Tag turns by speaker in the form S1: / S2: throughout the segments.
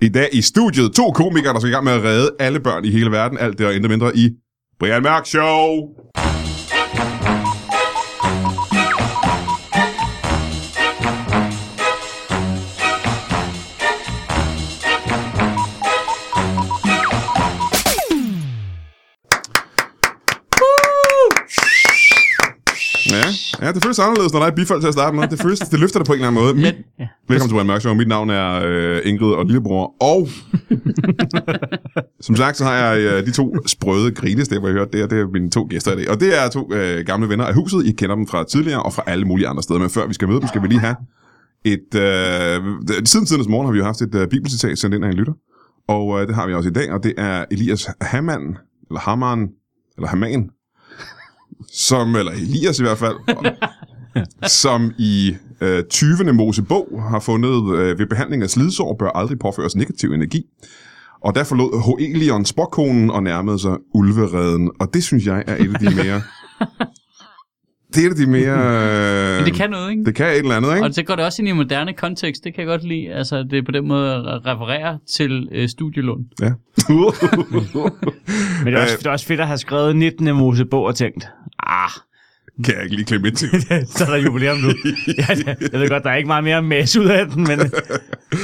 S1: I dag i studiet to komikere, der skal i gang med at redde alle børn i hele verden. Alt det og endnu mindre i Brian Mørk Show. Ja, ja, det føles anderledes, når der er et bifald til at starte med. Det, føles, det løfter det på en eller anden måde. Mit,
S2: ja.
S1: Velkommen til Brian Mørk Show. Mit navn er øh, Ingrid og Lillebror. Og som sagt, så har jeg øh, de to sprøde grinestemmer, jeg hørte der. Det er mine to gæster i dag. Og det er to øh, gamle venner af huset. I kender dem fra tidligere og fra alle mulige andre steder. Men før vi skal møde dem, skal vi lige have et... Øh, siden tidens morgen har vi jo haft et øh, bibelcitat sendt ind af en lytter. Og øh, det har vi også i dag, og det er Elias Hammann, eller Hammann, eller Hamman, som, eller Elias i hvert fald, som i øh, 20. Mosebog har fundet, øh, ved behandling af slidsår bør aldrig påføres negativ energi. Og der forlod Hoelion spokkonen og nærmede sig ulvereden. Og det synes jeg er et af de mere... det er et af de mere... Øh,
S2: Men det kan noget, ikke?
S1: det kan et eller andet, ikke?
S2: Og så går det også ind i en moderne kontekst, det kan jeg godt lide. Altså, det er på den måde at referere til øh, studielån.
S1: Ja.
S3: Men det er, også, det er også fedt at have skrevet 19. Mosebog og tænkt, ah,
S1: kan jeg ikke lige klemme ind til?
S3: så er der jubilæum nu. ja, jeg ved godt, der er ikke meget mere mas ud af den, men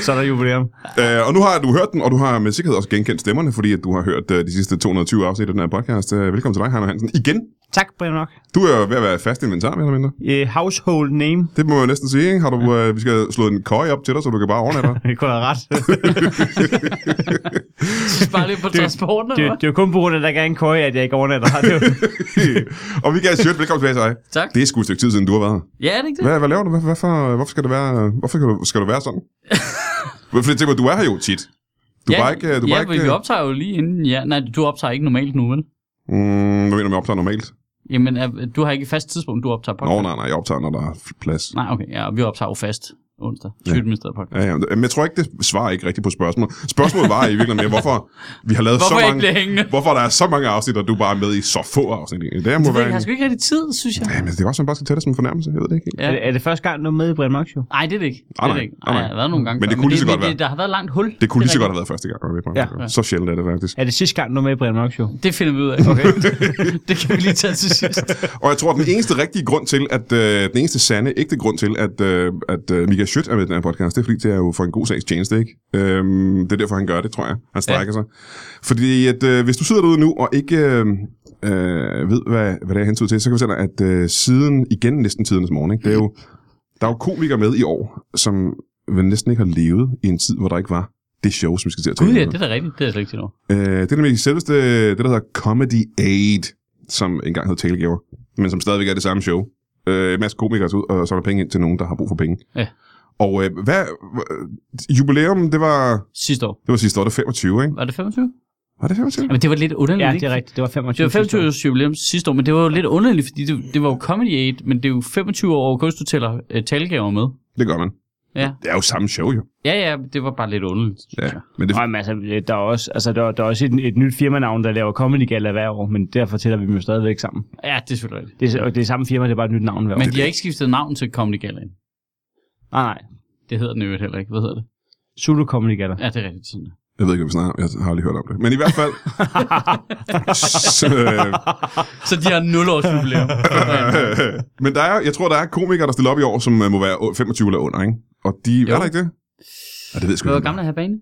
S3: så er der jubilæum.
S1: Øh, og nu har du hørt den, og du har med sikkerhed også genkendt stemmerne, fordi at du har hørt øh, de sidste 220 afsnit af den her podcast. Øh, velkommen til dig, Heino Hansen. Igen,
S3: Tak, Brian Nok.
S1: du er jo ved at være fast inventar, mere eller mindre.
S3: Uh, household name.
S1: Det må jeg næsten sige, ikke? Har du, øh, vi skal slå en køje op til dig, så du kan bare overnatte dig.
S3: Det kunne være ret.
S2: Så bare lige på transporten,
S3: det,
S2: eller hvad?
S3: det er jo kun på grund af, at der ikke er en køje, at jeg ikke overnatter. Det er jo,
S1: og vi kan sjovt velkommen tilbage til dig.
S2: Tak.
S1: Det er sgu et stykke tid siden, du har været her.
S2: Ja, er det ikke det?
S1: Hvad, hvad laver du? Hvad, hvad for, hvorfor skal det være, hvorfor skal du, skal du være sådan? Fordi jeg tænker, du er her jo tit. Du
S2: ja,
S1: er bare ikke... øh, Du er
S2: ja,
S1: bare
S2: for
S1: ikke
S2: vi optager jo lige inden... Ja, nej, du optager ikke normalt nu, vel?
S1: mm, hvad mener du med, jeg optager normalt?
S2: Jamen, er- du har ikke et fast tidspunkt, du optager
S1: Nå,
S2: podcast.
S1: nej, nej, jeg optager, når der er plads.
S2: nej. okay, ja, og vi optager jo fast onsdag.
S1: Ja.
S2: Sygdomministeriet podcast.
S1: Ja, ja, men jeg tror ikke, det svarer ikke rigtigt på spørgsmålet. Spørgsmålet var i virkeligheden mere, hvorfor vi har lavet
S2: Hvorfor
S1: så mange...
S2: jeg ikke bliver hængende?
S1: Hvorfor der er så mange afsnit, og du bare er med i så få afsnit. egentlig. Det her må
S2: Det ved
S1: være...
S2: jeg, jeg har
S1: En...
S2: sgu ikke rigtig tid, synes jeg.
S1: Ja, men det er også, man bare skal tage det som en fornærmelse. Jeg ved det ikke. helt.
S2: Ja.
S3: er, det, er det første gang, du er med i Brian Mørk Show?
S2: Nej, det er det ikke.
S1: Nej,
S2: det er
S1: nej.
S2: det ikke.
S1: Nej,
S2: Ej,
S1: nej.
S2: jeg har været nogle gange
S1: Men det
S2: før,
S1: kunne lige så
S2: men
S1: godt
S2: det, der har været et langt hul.
S1: Det kunne
S2: er
S1: lige så godt
S2: rigtigt.
S1: have været første gang, jeg var med på
S3: Ja.
S1: ja. Så sjældent er det faktisk.
S3: Er det sidste gang, du er med i Brian Mørk Show?
S2: Det finder vi ud af. Okay. det kan vi lige tage til sidst.
S1: Og jeg tror, den eneste rigtige grund til, at øh, den eneste sande, ægte grund til, at, øh, at øh, Mika Schødt er med i den her podcast, det er fordi, det er jo for en god sags tjeneste, ikke? Øhm, det er derfor, han gør det, tror jeg. Han strækker ja. sig. Fordi at, øh, hvis du sidder derude nu og ikke øh, øh, ved, hvad, hvad det er jeg hentyder til, så kan vi sige dig, at øh, siden, igen næsten tidernes morgen, ikke? Det er jo, der er jo komikere med i år, som vel næsten ikke har levet i en tid, hvor der ikke var det show, som vi skal til at tale
S2: Gud,
S1: om
S2: ja,
S1: nu.
S2: det er da rigtigt. Det er jeg slet ikke til nu.
S1: Øh, det er nemlig selveste, det der hedder Comedy Aid, som engang hed Talegaver, men som stadigvæk er det samme show. Øh, en masse komikere tager ud, og så er der penge ind til nogen, der har brug for penge.
S2: Ja.
S1: Og øh, hvad, øh, jubilæum, det var,
S2: Sidste år.
S1: det var sidste år, det var 25, ikke?
S2: Var det 25?
S1: Var det 25?
S2: Jamen, det var lidt underligt,
S3: Ja,
S2: ikke?
S3: det er rigtigt. Det var 25.
S2: Det var 25 års jubilæum sidste år, men det var jo lidt underligt, fordi det, det var jo Comedy 8, men det er jo 25 år, hvor du tæller øh, talgaver med.
S1: Det gør man.
S2: Ja.
S1: Det er jo samme show, jo.
S2: Ja, ja, det var bare lidt underligt. synes
S1: Ja.
S2: jeg.
S1: Men det,
S3: Nej, men altså, der er også, altså, der, er- der er også et, et nyt firmanavn, der laver Comedy Gala hver år, men derfor tæller vi dem jo stadigvæk sammen.
S2: ja det er selvfølgelig rigtigt.
S3: Det er, og det er samme firma, det er bare et nyt navn hver år.
S2: Men de har ikke skiftet navn til Comedy Galaen.
S3: Nej, nej.
S2: Det hedder den i øvrigt heller ikke. Hvad hedder det?
S3: Zulu Comedy Gala.
S2: Ja, det er rigtigt sådan.
S1: jeg ved ikke, hvad vi snakker om. Jeg har aldrig hørt om det. Men i hvert fald... så, øh,
S2: Så de har 0 års jubilæum.
S1: øh, men der er, jeg tror, der er komikere, der stiller op i år, som øh, må være 25 eller under, ikke? Og de... Jo.
S2: Jo.
S1: Er der ikke det? Ja, det ved jeg sgu
S2: Hvor
S1: ikke.
S2: gammel er Habane?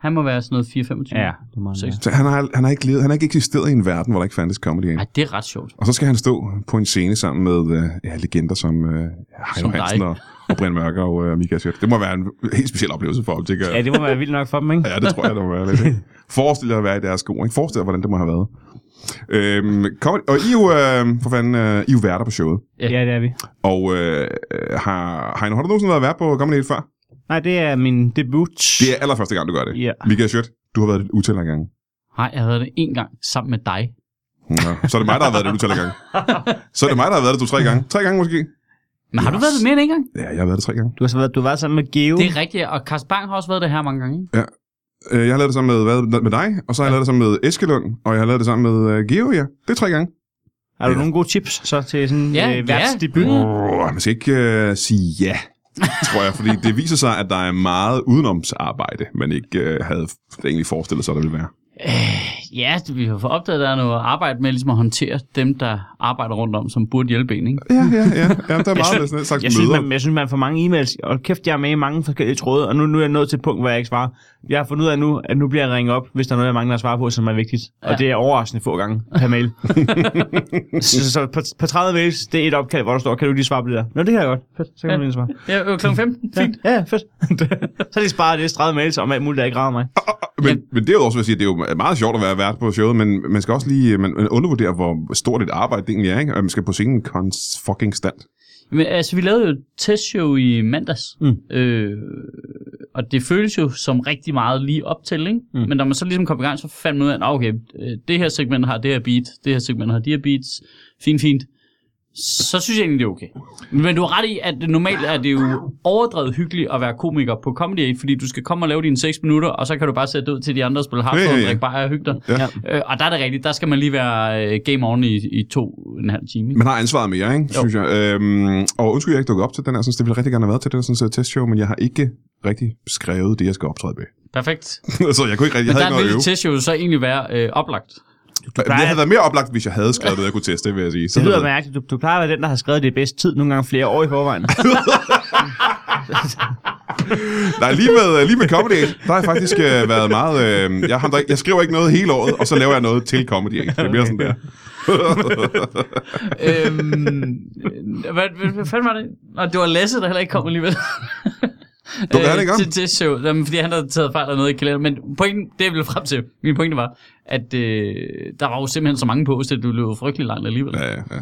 S2: Han må være sådan noget 4-25.
S3: Ja, det må man
S2: Seks.
S1: Så han har, han, har ikke levet, han har ikke eksisteret i en verden, hvor der ikke fandtes comedy Aid.
S2: Ej, det er ret sjovt.
S1: Og så skal han stå på en scene sammen med øh, ja, legender som øh, Heino
S2: Som dig.
S1: Hansen og, og Brian Mørker og øh, Mika Schødt. Det må være en helt speciel oplevelse for ham, tænker
S3: Ja,
S1: jeg.
S3: det må være vildt nok for dem, ikke?
S1: Ja, det tror jeg, det må være lidt. ikke? Forestil dig at være i deres sko. Ikke? Forestil dig, hvordan det må have været. Øhm, kom, og I er jo, øh, for fanden, øh, I er jo værter på showet.
S2: Ja.
S3: Ja, det er vi.
S1: Og øh, har, Heino, har du nogensinde været vært på Comedy Aid før?
S3: Nej, det er min debut.
S1: Det er allerførste gang, du gør det.
S3: Ja.
S1: Mika Schødt, du har været det et utal af gange.
S2: Nej, jeg havde det en gang sammen med dig.
S1: Nå, så er det mig, der har været det et utal af gange. Så er det mig, der har været det to-tre gange. Tre gange måske.
S2: Men har du været det mere end en gang?
S1: Ja, jeg har været det tre gange.
S3: Du har så været, du har været sammen med Geo.
S2: Det er rigtigt, og Carsten Bang har også været det her mange gange. ikke?
S1: Øh, Jeg har lavet det sammen med, hvad, med dig, og så har jeg lavet det sammen med Eskelund, og jeg har lavet det sammen med uh, Geo, ja. Det er tre gange.
S3: Har du nogle gode tips så til sådan en
S2: Ja,
S3: ja,
S2: ja.
S3: øh, værtsdebut?
S2: Mm.
S1: Oh, man skal ikke uh, sige ja tror jeg, fordi det viser sig, at der er meget udenomsarbejde, man ikke øh, havde egentlig forestillet sig, der ville være.
S2: Ja, altså, vi har fået opdaget, at der er noget arbejde med ligesom at håndtere dem, der arbejder rundt om, som burde hjælpe en. Ikke?
S1: Ja, ja, ja. ja der er meget af sådan en slags
S3: Jeg synes,
S1: møder.
S3: man, jeg synes, man får mange e-mails, og kæft, jeg er med i mange forskellige tråde, og nu, nu er jeg nået til et punkt, hvor jeg ikke svarer. Jeg har fundet ud af nu, at nu bliver jeg ringet op, hvis der er noget, jeg mangler at svare på, som er vigtigt. Ja. Og det er overraskende få gange per mail. så, så på, på 30 mails, det er et opkald, hvor der står, kan du lige svare på det der? Nå, det kan jeg godt. Fedt, så kan
S2: Ja.
S3: du lige svare.
S2: Ja, øh, klokken 15.
S3: Ja,
S2: Fint.
S3: ja fedt. så har de sparet det 30 mails om alt muligt, der ikke rager mig.
S1: Men, men derudover så vil jeg sige, at det er jo meget sjovt at være vært på showet, men man skal også lige øh, man, man undervurdere, hvor stort et arbejde det egentlig er, ikke? Og man skal på scenen kons fucking stand.
S2: Men altså, vi lavede jo et testshow i mandags,
S3: Mm.
S2: øh, og det føles jo som rigtig meget lige op til, ikke? Mm. men når man så ligesom kom i gang, så fandt man ud af, at nå, okay, øh, det her segment har det her beat, det her segment har de her beats, fint, fint. Så synes jeg egentlig, det er okay. Men du har ret i, at normalt er det jo overdrevet hyggeligt at være komiker på Comedy Aid, fordi du skal komme og lave dine 6 minutter, og så kan du bare sætte ud til de andre og spille hardcore,
S1: Ja, ja,
S2: ja, ja,
S1: ja.
S2: og drikke bare og hygge dig.
S1: Ja.
S2: Øh, og der er det rigtigt, der skal man lige være øh, game on i, i to og en halv time. Ikke?
S1: Man har ansvaret mere, ikke?
S2: Jo.
S1: Synes jeg. Øhm, og undskyld, jeg ikke dukkede op til den her, synes, det ville jeg rigtig gerne have været til den her sådan, så testshow, men jeg har ikke rigtig skrevet det, jeg skal optræde med.
S2: Perfekt.
S1: så jeg kunne ikke rigtig, jeg havde
S2: Men der
S1: ikke noget at
S2: ville
S1: øve.
S2: testshow så egentlig være øh, oplagt.
S1: Det havde været mere oplagt, hvis jeg havde skrevet det, jeg kunne teste, vil jeg sige. Så
S3: Det lyder
S1: havde-
S3: mærkeligt. Du, du plejer at være den, der har skrevet det i bedst tid, nogle gange flere år i forvejen.
S1: Nej, lige med, øh, lige med Comedy Aid, der har jeg faktisk øh, været meget... Øh, jeg, ham, der, jeg skriver ikke noget hele året, og så laver jeg noget til Comedy Aid. Det bliver sådan der.
S2: øhm, hvad, hvad, hvad fanden var det? Nå, det var Lasse, der heller ikke kom alligevel. Øh,
S1: Du kan heller ikke om.
S2: til til show, Jamen, fordi han havde taget fejl af noget i kalenderen. Men pointen, det jeg ville frem til, min pointe var, at øh, der var jo simpelthen så mange på, at du løb frygtelig langt alligevel. Ja.
S1: Ja, ja.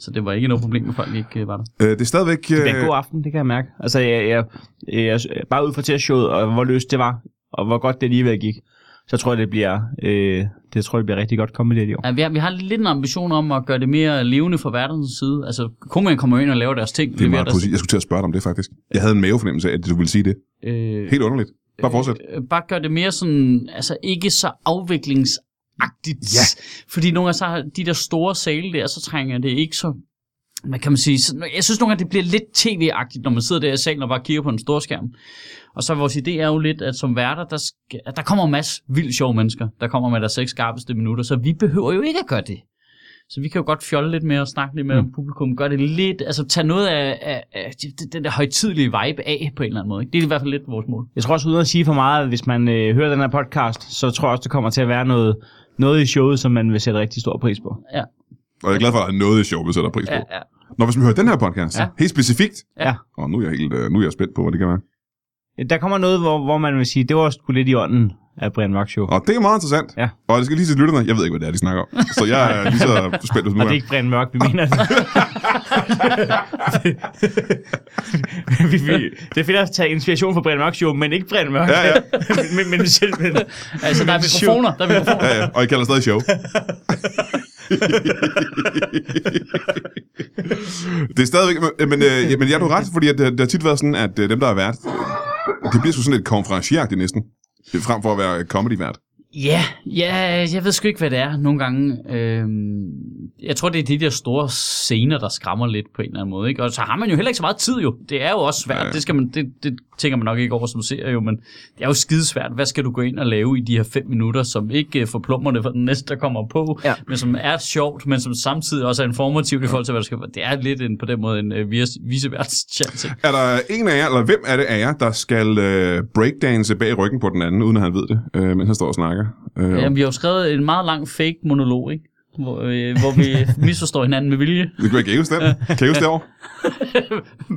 S2: Så det var ikke noget problem, at folk ikke øh, var der.
S1: Øh, det er stadigvæk... Øh,
S3: Det er en god aften, det kan jeg mærke. Altså, jeg, jeg, jeg, jeg bare ud fra testshowet, og hvor løst det var, og hvor godt det alligevel gik, så tror jeg, det bliver, øh, det, tror jeg, det bliver rigtig godt kommet i år.
S2: Ja, vi, har, vi har lidt en ambition om at gøre det mere levende fra verdens side. Altså, komikere kommer jo ind og laver deres ting.
S1: Det er
S2: leverer
S1: meget
S2: deres-
S1: præcis. Jeg skulle til at spørge dig om det, faktisk. Jeg havde en mavefornemmelse af, at du ville sige det.
S2: Øh,
S1: Helt underligt. Bare fortsæt.
S2: øh, bare gør det mere sådan, altså ikke så afviklingsagtigt.
S1: Ja.
S2: Fordi nogle gange så har de der store sale der, så trænger det ikke så hvad kan man sige? Så- Jeg synes nogle gange, det bliver lidt tv-agtigt, når man sidder der i salen og bare kigger på en stor skærm. Og så vores idé er jo lidt, at som værter, der, skal, at der kommer en masse vildt sjove mennesker, der kommer med deres seks skarpeste minutter, så vi behøver jo ikke at gøre det. Så vi kan jo godt fjolle lidt med og snakke lidt med mm. publikum, gøre det lidt, altså tage noget af, af, af det- den der højtidlige vibe af på en eller anden måde. Ikke? Det er i hvert fald lidt vores mål.
S3: Jeg tror også, uden at sige for meget, at hvis man øh, hører den her podcast, så tror jeg også, der kommer til at være noget, noget i showet, som man vil sætte rigtig stor pris på.
S2: Ja.
S1: Og jeg er glad for, at der er noget i showet, så der er pris på.
S2: Ja, ja.
S1: Nå, hvis man hører den her podcast,
S2: Ja.
S1: helt specifikt.
S3: Ja.
S1: Og nu er jeg helt, øh, nu er jeg spændt på, hvad det kan være.
S3: Der kommer noget, hvor, hvor man vil sige, det var sgu lidt i ånden af Brian Mørk Show.
S1: Og det er meget interessant.
S3: Ja.
S1: Og det skal lige til lytterne. Jeg ved ikke, hvad det er, de snakker om. Så jeg er lige så spændt som
S3: Og
S1: nu
S3: det er
S1: er.
S3: ikke Brian Mørk, vi mener det. vi, vi, det er fedt at tage inspiration fra Brian Mørk Show, men ikke Brian Mørk.
S1: Ja, ja.
S3: men, men, selv, men,
S2: Altså, der er mikrofoner. Der er mikrofoner.
S1: Ja, ja. Og I kalder det stadig show. det er stadigvæk... Men, men, øh, ja, men jeg har ret, fordi at, øh, det har tit været sådan, at øh, dem, der er vært, øh, det bliver sgu sådan lidt konferencieragtigt næsten. Frem for at være comedy-vært.
S2: Ja, ja, jeg ved sgu ikke, hvad det er nogle gange. Øhm, jeg tror, det er de der store scener, der skræmmer lidt på en eller anden måde. Ikke? Og så har man jo heller ikke så meget tid jo. Det er jo også svært.
S1: Ja.
S2: Det, skal man, det, det tænker man nok ikke over som seer jo, men det er jo skidesvært. Hvad skal du gå ind og lave i de her fem minutter, som ikke øh, forplummer det for den næste, der kommer på,
S3: Ja.
S2: men som er sjovt, men som samtidig også er informativt i forhold til, hvad der skal Det er lidt en, på den måde en øh, vis- viceværtschance.
S1: Er der en af jer, eller hvem er det af jer, der skal øh, breakdance bag ryggen på den anden, uden at han ved det, øh, mens han står og snakker? Øh,
S2: Ja,
S1: Jamen.
S2: vi har jo skrevet en meget lang fake monolog, ikke? Hvor, øh, hvor vi misforstår hinanden med vilje.
S1: Det kunne jeg ikke huske den. Kan I huske det år?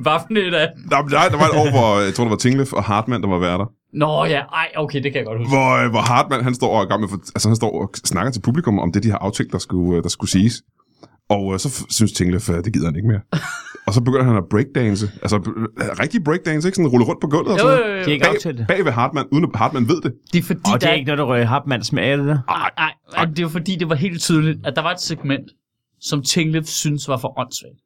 S2: Vafnet af.
S1: Der, der, der var et år, hvor jeg tror, det var Tingleff og Hartmann, der var værter.
S2: Nå ja, ej, okay, det kan jeg godt huske.
S1: Hvor, øh, hvor Hartmann, han står og, er i gang med, for- altså, han står og snakker til publikum om det, de har aftalt, der skulle, øh, der skulle siges. Og øh, så f- synes Tingleff, øh, det gider han ikke mere. og så begynder han at breakdance. Altså, øh, rigtig breakdance, ikke? Sådan rulle rundt på gulvet og
S2: Jo,
S1: sådan
S2: jo,
S1: noget.
S2: jo,
S3: Det er
S2: jo.
S3: ikke aftalt.
S1: Bag, bag ved Hartmann, uden at Hartmann ved det.
S2: Det er fordi,
S3: Og det
S2: der
S3: er ikke noget, der rører Hartmann smager det der.
S2: Ej, ej, ej, det er fordi, det var helt tydeligt, at der var et segment, som Tinglev synes var for åndssvagt.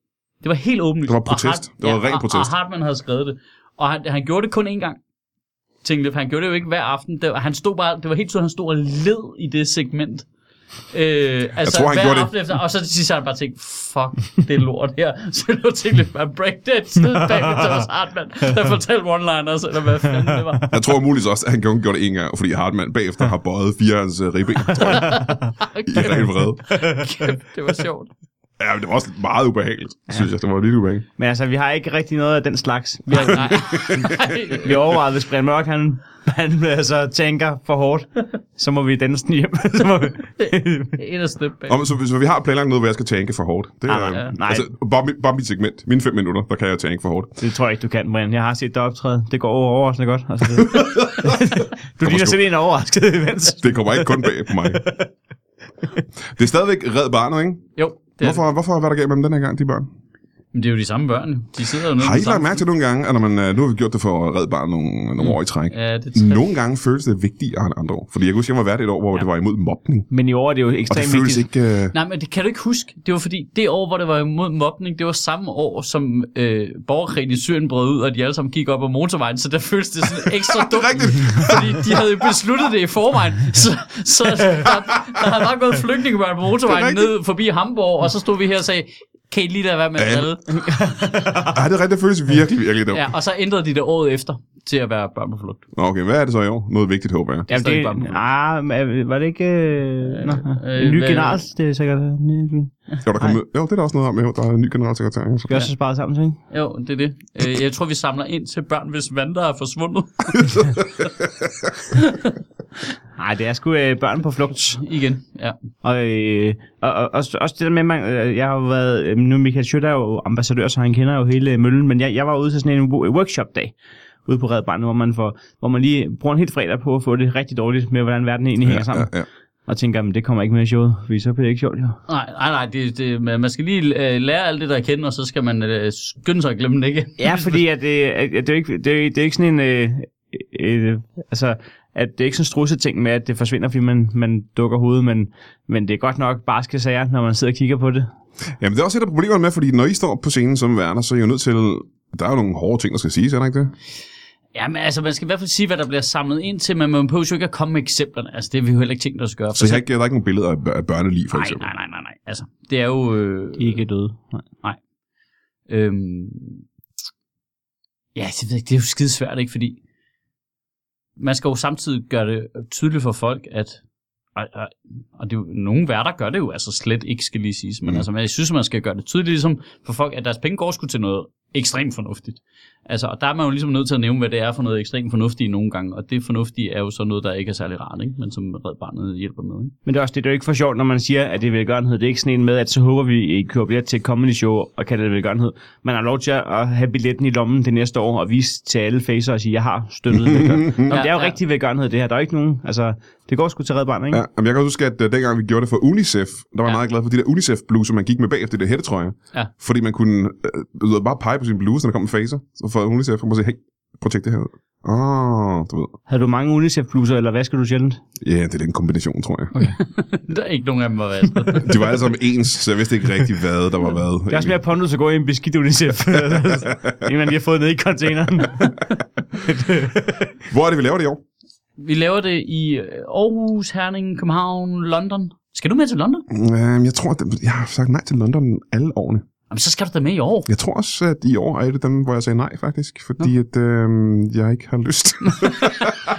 S2: Det var helt åbenlyst.
S1: Det var
S2: Og
S1: protest. Det var ren
S2: og,
S1: protest.
S2: Og Hartmann havde skrevet det. Og han, han gjorde det kun én gang. Tinglev, han gjorde det jo ikke hver aften. Det, var- han stod bare, det var helt tydeligt, han stod og led i det segment. Øh, altså, jeg
S1: tror, han gjorde det.
S2: Efter, og så til sidst har han bare tænkt, fuck, det er lort her. Så nu tænkte jeg bare, break that tid bag med Thomas Hartmann, der fortalte one-liners, eller hvad fanden det var.
S1: Jeg tror muligvis også, at han kun gjorde det en gang, fordi Hartmann bagefter har bøjet fire af hans øh, ribben. tror jeg, i
S2: Okay,
S1: ren vrede.
S2: kæft, det var sjovt.
S1: Ja, men det var også meget ubehageligt, synes jeg. Det var lidt ubehageligt.
S3: Men altså, vi har ikke rigtig noget af den slags. Vi,
S2: Nej,
S3: har,
S2: nej.
S3: vi overvejede, hvis Brian Mørk, han, han altså, tænker for hårdt, så må vi danse den hjem. så må vi...
S2: En af step bag.
S1: Og, så, så, vi har planlagt noget, hvor jeg skal tanke for hårdt. Det,
S3: Ah,
S1: er-
S2: ja.
S3: Nej.
S1: Altså, bare, mit, bare mit segment. Mine fem minutter, der kan jeg tanke for hårdt.
S3: det tror jeg ikke, du kan, Brian. Jeg har set dig optræde. Det går over overraskende godt. Altså, det... du ligner
S1: sgu.
S3: simpelthen overrasket imens.
S1: Det kommer ikke kun bag på mig. Det er stadigvæk red barnet, ikke?
S2: øh, Jo, det er, det.
S1: Hvorfor, hvorfor var der galt med dem den her gang, de børn?
S2: Men det er jo de samme børn. jo. De sidder jo nede
S1: Har
S2: på
S1: I lagt
S2: samme- Mm.
S1: mærke til nogle gange, at når man, øh, nu har vi gjort det for at redde barn nogle, nogle år i træk.
S2: Ja, det er træt.
S1: Nogle gange føles det vigtigere end andre år. Fordi jeg kan huske, jeg var vært et år, hvor det var imod mobning.
S3: Men i år er det jo
S1: Og det
S3: ekstremt
S1: føles
S3: vigtigt.
S1: ikke... øh,
S2: Nej, men det kan du ikke huske. Det var fordi, det år, hvor det var imod mobning, det var samme år, som øh, borgerkrigen i Syrien brød ud, og de alle sammen gik op ad motorvejen, så der føltes det sådan ekstra dumt.
S1: rigtigt.
S2: fordi de havde jo besluttet det i forvejen. Så, så der, der havde bare gået flygtningebørn på motorvejen
S1: rigtigt.
S2: ned forbi Hamburg, og så stod vi her og sagde, kan I lige lade være med at
S1: Ja.
S2: drille?
S1: Ej, det er rigtigt, det føles virkelig, virkelig dumt.
S2: Ja, og så ændrede de det året efter til at være børn på flugt.
S1: Nå, okay, hvad er det så i år? Noget vigtigt, håber jeg.
S3: Jamen,
S2: stadig
S3: det,
S2: bare-
S3: ah, men var det ikke... Øh, nå,
S2: øh,
S3: en ny
S2: hvad-
S3: general, det er sikkert en ny... Vi
S1: Jo, der, kom, jo, det er der også noget om, jo, der er en ny generalsekretær. ikke? Så-
S3: har også sparet sammen, ikke?
S2: Jo, det er det. Øh, jeg tror, vi samler ind til børn, hvis vandre er forsvundet
S3: Nej, det er sgu øh, børn på flugt.
S2: igen. Ja.
S3: Og, øh, og, og også, også det der med, man, øh, jeg har jo været, øh, nu Michael Schøtter er jo ambassadør, så han kender jo hele øh, møllen, men jeg, jeg var ude til sådan en wo- workshop-dag ude på Red Barn, hvor man, får, hvor man lige bruger en helt fredag på at få det rigtig dårligt med, hvordan verden egentlig hænger sammen.
S1: Ja, ja.
S3: Og tænker, men det kommer ikke med i showet, fordi så bliver det ikke sjovt, jo.
S2: Nej, nej, nej det, det, man man skal lige øh, lære alt det, der er kendt, og så skal man øh, skynde sig at glemme det ikke.
S3: Ja, fordi at, det, at, at det, er jo ikke, det, er, jo- det er ikke sådan en... Øh, øh, altså, at det er ikke sådan en strusseting med, at det forsvinder, fordi man, man dukker hovedet, men, men det er godt nok barske sager, når man sidder og kigger på det.
S1: Jamen, det er også et af problemerne med, fordi når I står på scenen som værner, så er I jo nødt til... Der er jo nogle hårde ting, der skal siges, er der ikke det?
S2: Jamen altså, man skal i hvert fald sige, hvad der bliver samlet ind til, men man behøver jo ikke at komme med eksemplerne. Altså, det har vi jo heller ikke tænkt os at gøre.
S1: Så
S2: Altså,
S1: jeg har ikke, der er ikke nogen billeder af bør- af børneliv, for
S2: nej,
S1: eksempel.
S2: nej, nej, nej, nej. Altså, det er jo... Øh,
S3: De er ikke døde. Nej.
S2: øhm, ja, det, ved jeg ikke, det er jo skidesvært, ikke? Fordi man skal jo samtidig gøre det tydeligt for folk, at og, og, og det er jo, nogle værter gør det jo altså slet ikke, skal lige siges, men
S1: Mm.
S2: mm. altså, men jeg synes, man skal gøre det tydeligt ligesom for folk, at deres penge går sgu til noget ekstremt fornuftigt. Altså, og der er man jo ligesom nødt til at nævne, hvad det er for noget ekstremt fornuftigt nogle gange, og det fornuftige er jo så noget, der ikke er særlig rart, ikke? men som Red Barnet hjælper med. Ikke?
S3: Men det er også det, det er jo ikke for sjovt, når man siger, at det er velgørenhed. Det er ikke sådan en med, at så håber vi, I køber billet til et comedy show og kalder det velgørenhed. Man har lov til at have billetten i lommen det næste år og vise til alle facer og sige, jeg har støttet velgørenhed. Nå, men det er jo
S2: Ja, ja.
S3: rigtig velgørenhed, det her. Der er jo ikke nogen... Altså, det går sgu til Red Barn, ikke?
S1: Ja, jamen, jeg kan huske, at uh, dengang vi gjorde det for UNICEF, der var jeg
S2: Ja.
S1: meget glad for de der UNICEF-bluser, man gik med bagefter det hættetrøje.
S2: Ja.
S1: Fordi man kunne øh, øh, bare pege på sin bluse, når der kom en faser. Så for UNICEF kunne man sige, hey, prøv at tjekke det her. ud." Åh, oh, du ved.
S3: Havde du mange UNICEF-bluser, eller hvad skal du sjældent?
S1: Ja, det er den kombination, tror jeg.
S2: Der er ikke nogen af dem, der er vasket.
S1: De var alle sammen ens, så jeg vidste ikke rigtig, hvad der var hvad.
S3: Det er også mere pondus at gå i en beskidt UNICEF. en man lige har fået ned i containeren.
S1: Hvor er det, vi laver det i år?
S2: Vi laver det i øh, Aarhus, Herning, København, London. Skal du med til London?
S1: Øhm, jeg tror, at dem- jeg har sagt nej til London alle årene.
S2: Jamen, så skal du da med i år.
S1: Jeg tror også, at i år er det dem, hvor jeg sagde nej, faktisk. Fordi at, øh, jeg ikke har lyst.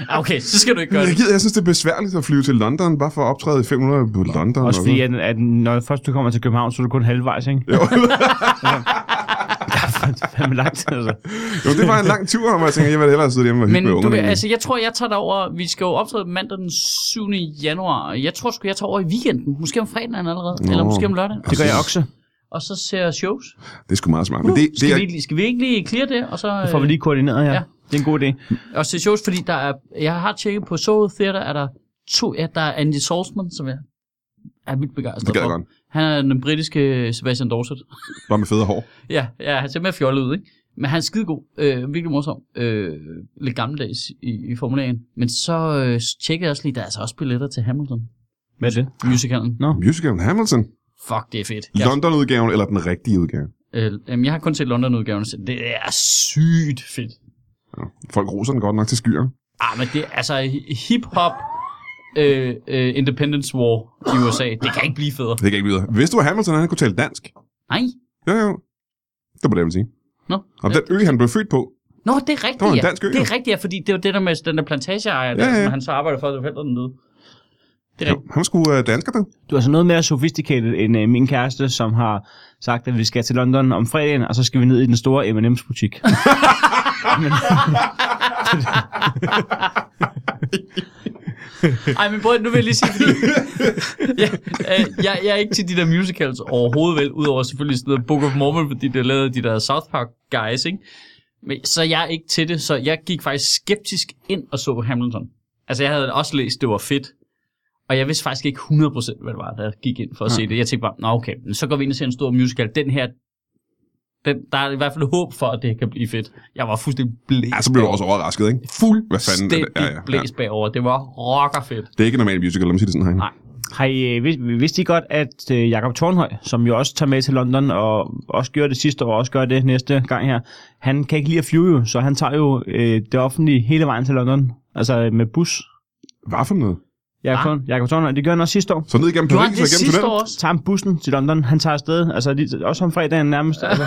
S2: Ah, Okay, så skal du ikke gøre
S1: jeg,
S2: det.
S1: gider, jeg synes, det er besværligt at flyve til London, bare for at optræde i 500 på London.
S3: Også
S1: og
S3: fordi,
S1: sådan.
S3: at, at når først du kommer til København, så er du kun halvvejs, ikke? Jo. Fandme langt, altså.
S1: Jo, det var en lang tur, hvor jeg tænkte, jeg ville hellere sidde hjemme og hygge
S2: Men
S1: med
S2: du,
S1: ungerne.
S2: kan- altså, jeg tror, jeg tager dig over... Vi skal jo optræde mandag den 7. januar. og Jeg tror sgu, jeg tager over i weekenden. Måske om fredagen allerede.
S1: Nå.
S2: Eller måske om lørdag.
S3: Det gør jeg også.
S2: Og så ser jeg shows.
S1: Det er sgu meget smart. Men det, det
S2: Uh, Skal,
S1: er,
S2: vi, lige- skal vi ikke lige clear det? Og så,
S3: Det får vi lige koordineret her.
S2: Ja.
S3: Ja. Det er en god idé.
S2: Og se shows, fordi der er... Jeg har tjekket på Soho Theater, er der to... Ja, der er Andy Saltzman, som jeg er vildt
S1: det
S2: begejstret
S1: gad jeg
S2: for.
S1: godt.
S2: Han er den britiske øh, Sebastian Dorset.
S1: Bare med fede hår.
S2: Ja, ja han ser mere fjollet ud, ikke? Men han er skidegod, øh, virkelig morsom, øh, lidt gammeldags i, i formulagen. Men så øh, tjekkede jeg også lige, der er altså også billetter til Hamilton,
S3: Hvad er det?
S2: musicalen.
S1: Musicalen Hamilton.
S2: Fuck, det er fedt.
S1: Ja.
S2: Jeg,
S1: London-udgaven eller den rigtige udgave?
S2: øh, jamen, jeg har kun set London-udgaven, så det er sygt fedt.
S1: Folk roser den godt nok til skyer.
S2: Ah, men det er altså hip-hop, øh, øh, Independence War i USA. Det kan ikke blive federe.
S1: Det kan jeg ikke videre. Vidste du, at Hamilton han kunne tale dansk?
S2: Nej.
S1: Jo, jo. Det var det, jeg ville sige.
S2: Nå,
S1: Om den ø, han blev født på.
S2: Nå det er
S1: Det var
S2: rigtigt,
S1: en
S2: ja.
S1: dansk ø,
S2: Det
S1: jo.
S2: er rigtigt, ja, fordi det var det der med den der plantageejer, der,
S1: Ja, ja.
S2: som han så arbejder for, at forældre den døde. Det er
S1: Jo,
S2: rigtigt.
S1: han skulle øh, dansker, den.
S3: Du er altså noget mere sofistikeret end øh, min kæreste, som har sagt, at vi skal til London om fredagen, og så skal vi ned i den store M&M's butik.
S2: Ej, men prøv, nu vil jeg lige sige, fordi jeg, øh, jeg, jeg er ikke til de der musicals overhovedet vel, udover selvfølgelig sådan noget Book of Mormon, fordi det lavede de der South Park guys, ikke? Men, så jeg er ikke til det, så jeg gik faktisk skeptisk ind og så Hamilton. Altså, jeg havde også læst, det var fedt, og jeg vidste faktisk ikke 100% hvad det var, der gik ind for at ja. se det. Jeg tænkte bare, nå okay, men så går vi ind og ser en stor musical. Den her, den, der er i hvert fald håb for, at det kan blive fedt. Jeg var fuldstændig blæst.
S1: Ja, så blev du også overrasket, ikke?
S2: Fuldstændig
S1: Hvad fanden er det? Ja, ja, ja.
S2: blæst bagover. Det var rockerfedt.
S1: Det er ikke en normal musical, lad mig sige det sådan her.
S2: Nej.
S3: Har I, øh, vid- vidste I godt, at øh, Jakob Tornhøj, som jo også tager med til London, og også gjorde det sidste år, og også gør det næste gang her, han kan ikke lide at flyve jo, så han tager jo øh, det offentlige hele vejen til London, altså øh, med bus.
S1: Hvad for noget?
S3: Jakob,
S2: Ah.
S3: Torn, Jakob Tornhøj, det gør han også sidste år.
S1: Så ned igennem
S2: Gjorde han
S1: Paris og
S2: det
S1: igennem
S2: sidste
S1: tunnelen?
S2: år også?
S3: Tager han bussen til London, han tager afsted, altså lige, også om fredagen nærmest. Altså.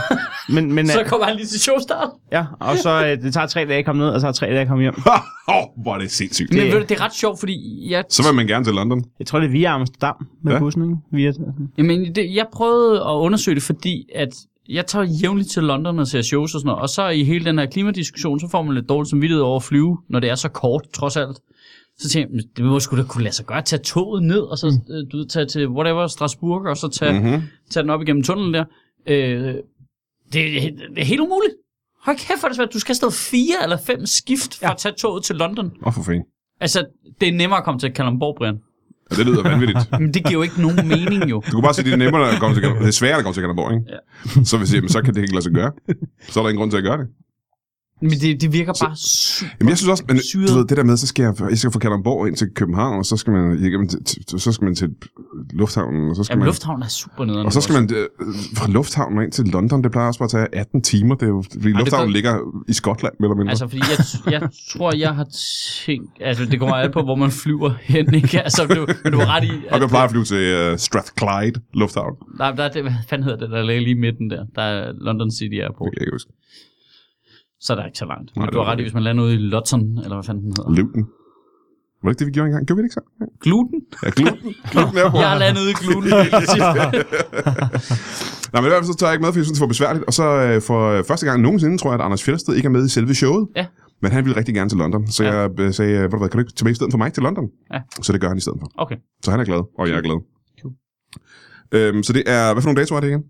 S3: Men, men,
S2: Så
S3: øh,
S2: kommer han lige til showstart.
S3: ja, og så øh, det tager tre dage at komme ned, og så tager tre dage at komme hjem.
S1: Åh, oh, hvor er det sindssygt.
S2: Men
S3: Det-
S2: ved du, det er ret sjovt, fordi jeg,
S1: Så vil man gerne til London.
S3: Jeg tror, det er via Amsterdam med
S1: Ja.
S3: ja. bussen, ikke? Via,
S2: jamen, det, jeg prøvede at undersøge det, fordi at jeg tager jævnligt til London og ser shows og sådan noget, og så i hele den her klimadiskussion, så får man lidt dårligt samvittighed over at flyve, når det er så kort, trods alt. Så tænkte jeg, "Men det må sgu da kunne lade sig gøre, at tage toget ned, og så mm. du, ved, tage til whatever, Strasbourg, og så tage, mm-hmm.
S1: Mm-hmm.
S2: tage den op igennem tunnelen der. Øh, det, er he- det er helt umuligt. Hold kæft, for det er svært. Du skal afsted fire eller fem skift for ja. at tage toget til London.
S1: Åh, oh, for fanden.
S2: Altså, det er nemmere at komme til Kalamborg, Brian.
S1: Ja, det lyder vanvittigt.
S2: Men det giver jo ikke nogen mening jo.
S1: Du kunne bare sige, at det er nemmere at komme til Kalderborg. Det er sværere at komme til Kalderborg, ikke?
S2: Ja.
S1: Så hvis jeg, jamen, så kan det ikke lade sig gøre. Så er der ingen grund til at gøre det.
S2: Men det, det virker bare super.
S1: Jamen, jeg synes også, men du
S2: Syret.
S1: ved, det der med, så skal jeg, jeg skal fra Kalderborg ind til København, og så skal man, igennem, til- til- så skal man til lufthavnen, og så skal
S2: Jamen,
S1: man...
S2: lufthavnen er super nederen.
S1: Og så skal man øh, fra lufthavnen og ind til London. Det plejer også bare at tage 18 timer. Det er jo, fordi lufthavnen
S2: går-
S1: ligger i Skotland, mere eller mindre.
S2: Altså, fordi jeg, jeg tror, jeg har tænkt... Altså, det kommer alt på, hvor man flyver hen, ikke? Altså, du, men du har ret i...
S1: og
S2: At,
S1: jeg plejer at flyve til uh, Strathclyde Lufthavn.
S2: nej, der er det, hvad fanden hedder det, der ligger lige i midten der? Der er London City
S1: Det
S2: Airport.
S1: kan jeg ikke huske.
S2: Så er der ikke så langt.
S1: Nej,
S2: Men
S1: det
S2: du har
S1: var
S2: ret i,
S1: det.
S2: hvis man lander ude i London, eller hvad fanden den hedder.
S1: Luton. Var det ikke det, vi gjorde engang? Gjorde vi det ikke så?
S2: Gluten?
S1: Ja, Gluten. Gluten Airport.
S2: Jeg har landet ude i gluten.
S1: Nej, men i hvert fald så tager jeg ikke med, fordi jeg synes, det var besværligt. Og så øh, for øh, første gang nogensinde, tror jeg, at Anders Fjellsted ikke er med i selve showet.
S2: Ja.
S1: Men han ville rigtig gerne til London. Så
S2: Ja.
S1: jeg øh, sagde, "Ved du hvad, kan du ikke tage med i stedet for mig til London?
S2: Ja.
S1: Så det gør han i stedet for.
S2: Okay.
S1: Så han er glad, og jeg er glad.
S2: Cool.
S1: Øhm, så det er, hvad for nogle datoer er det igen?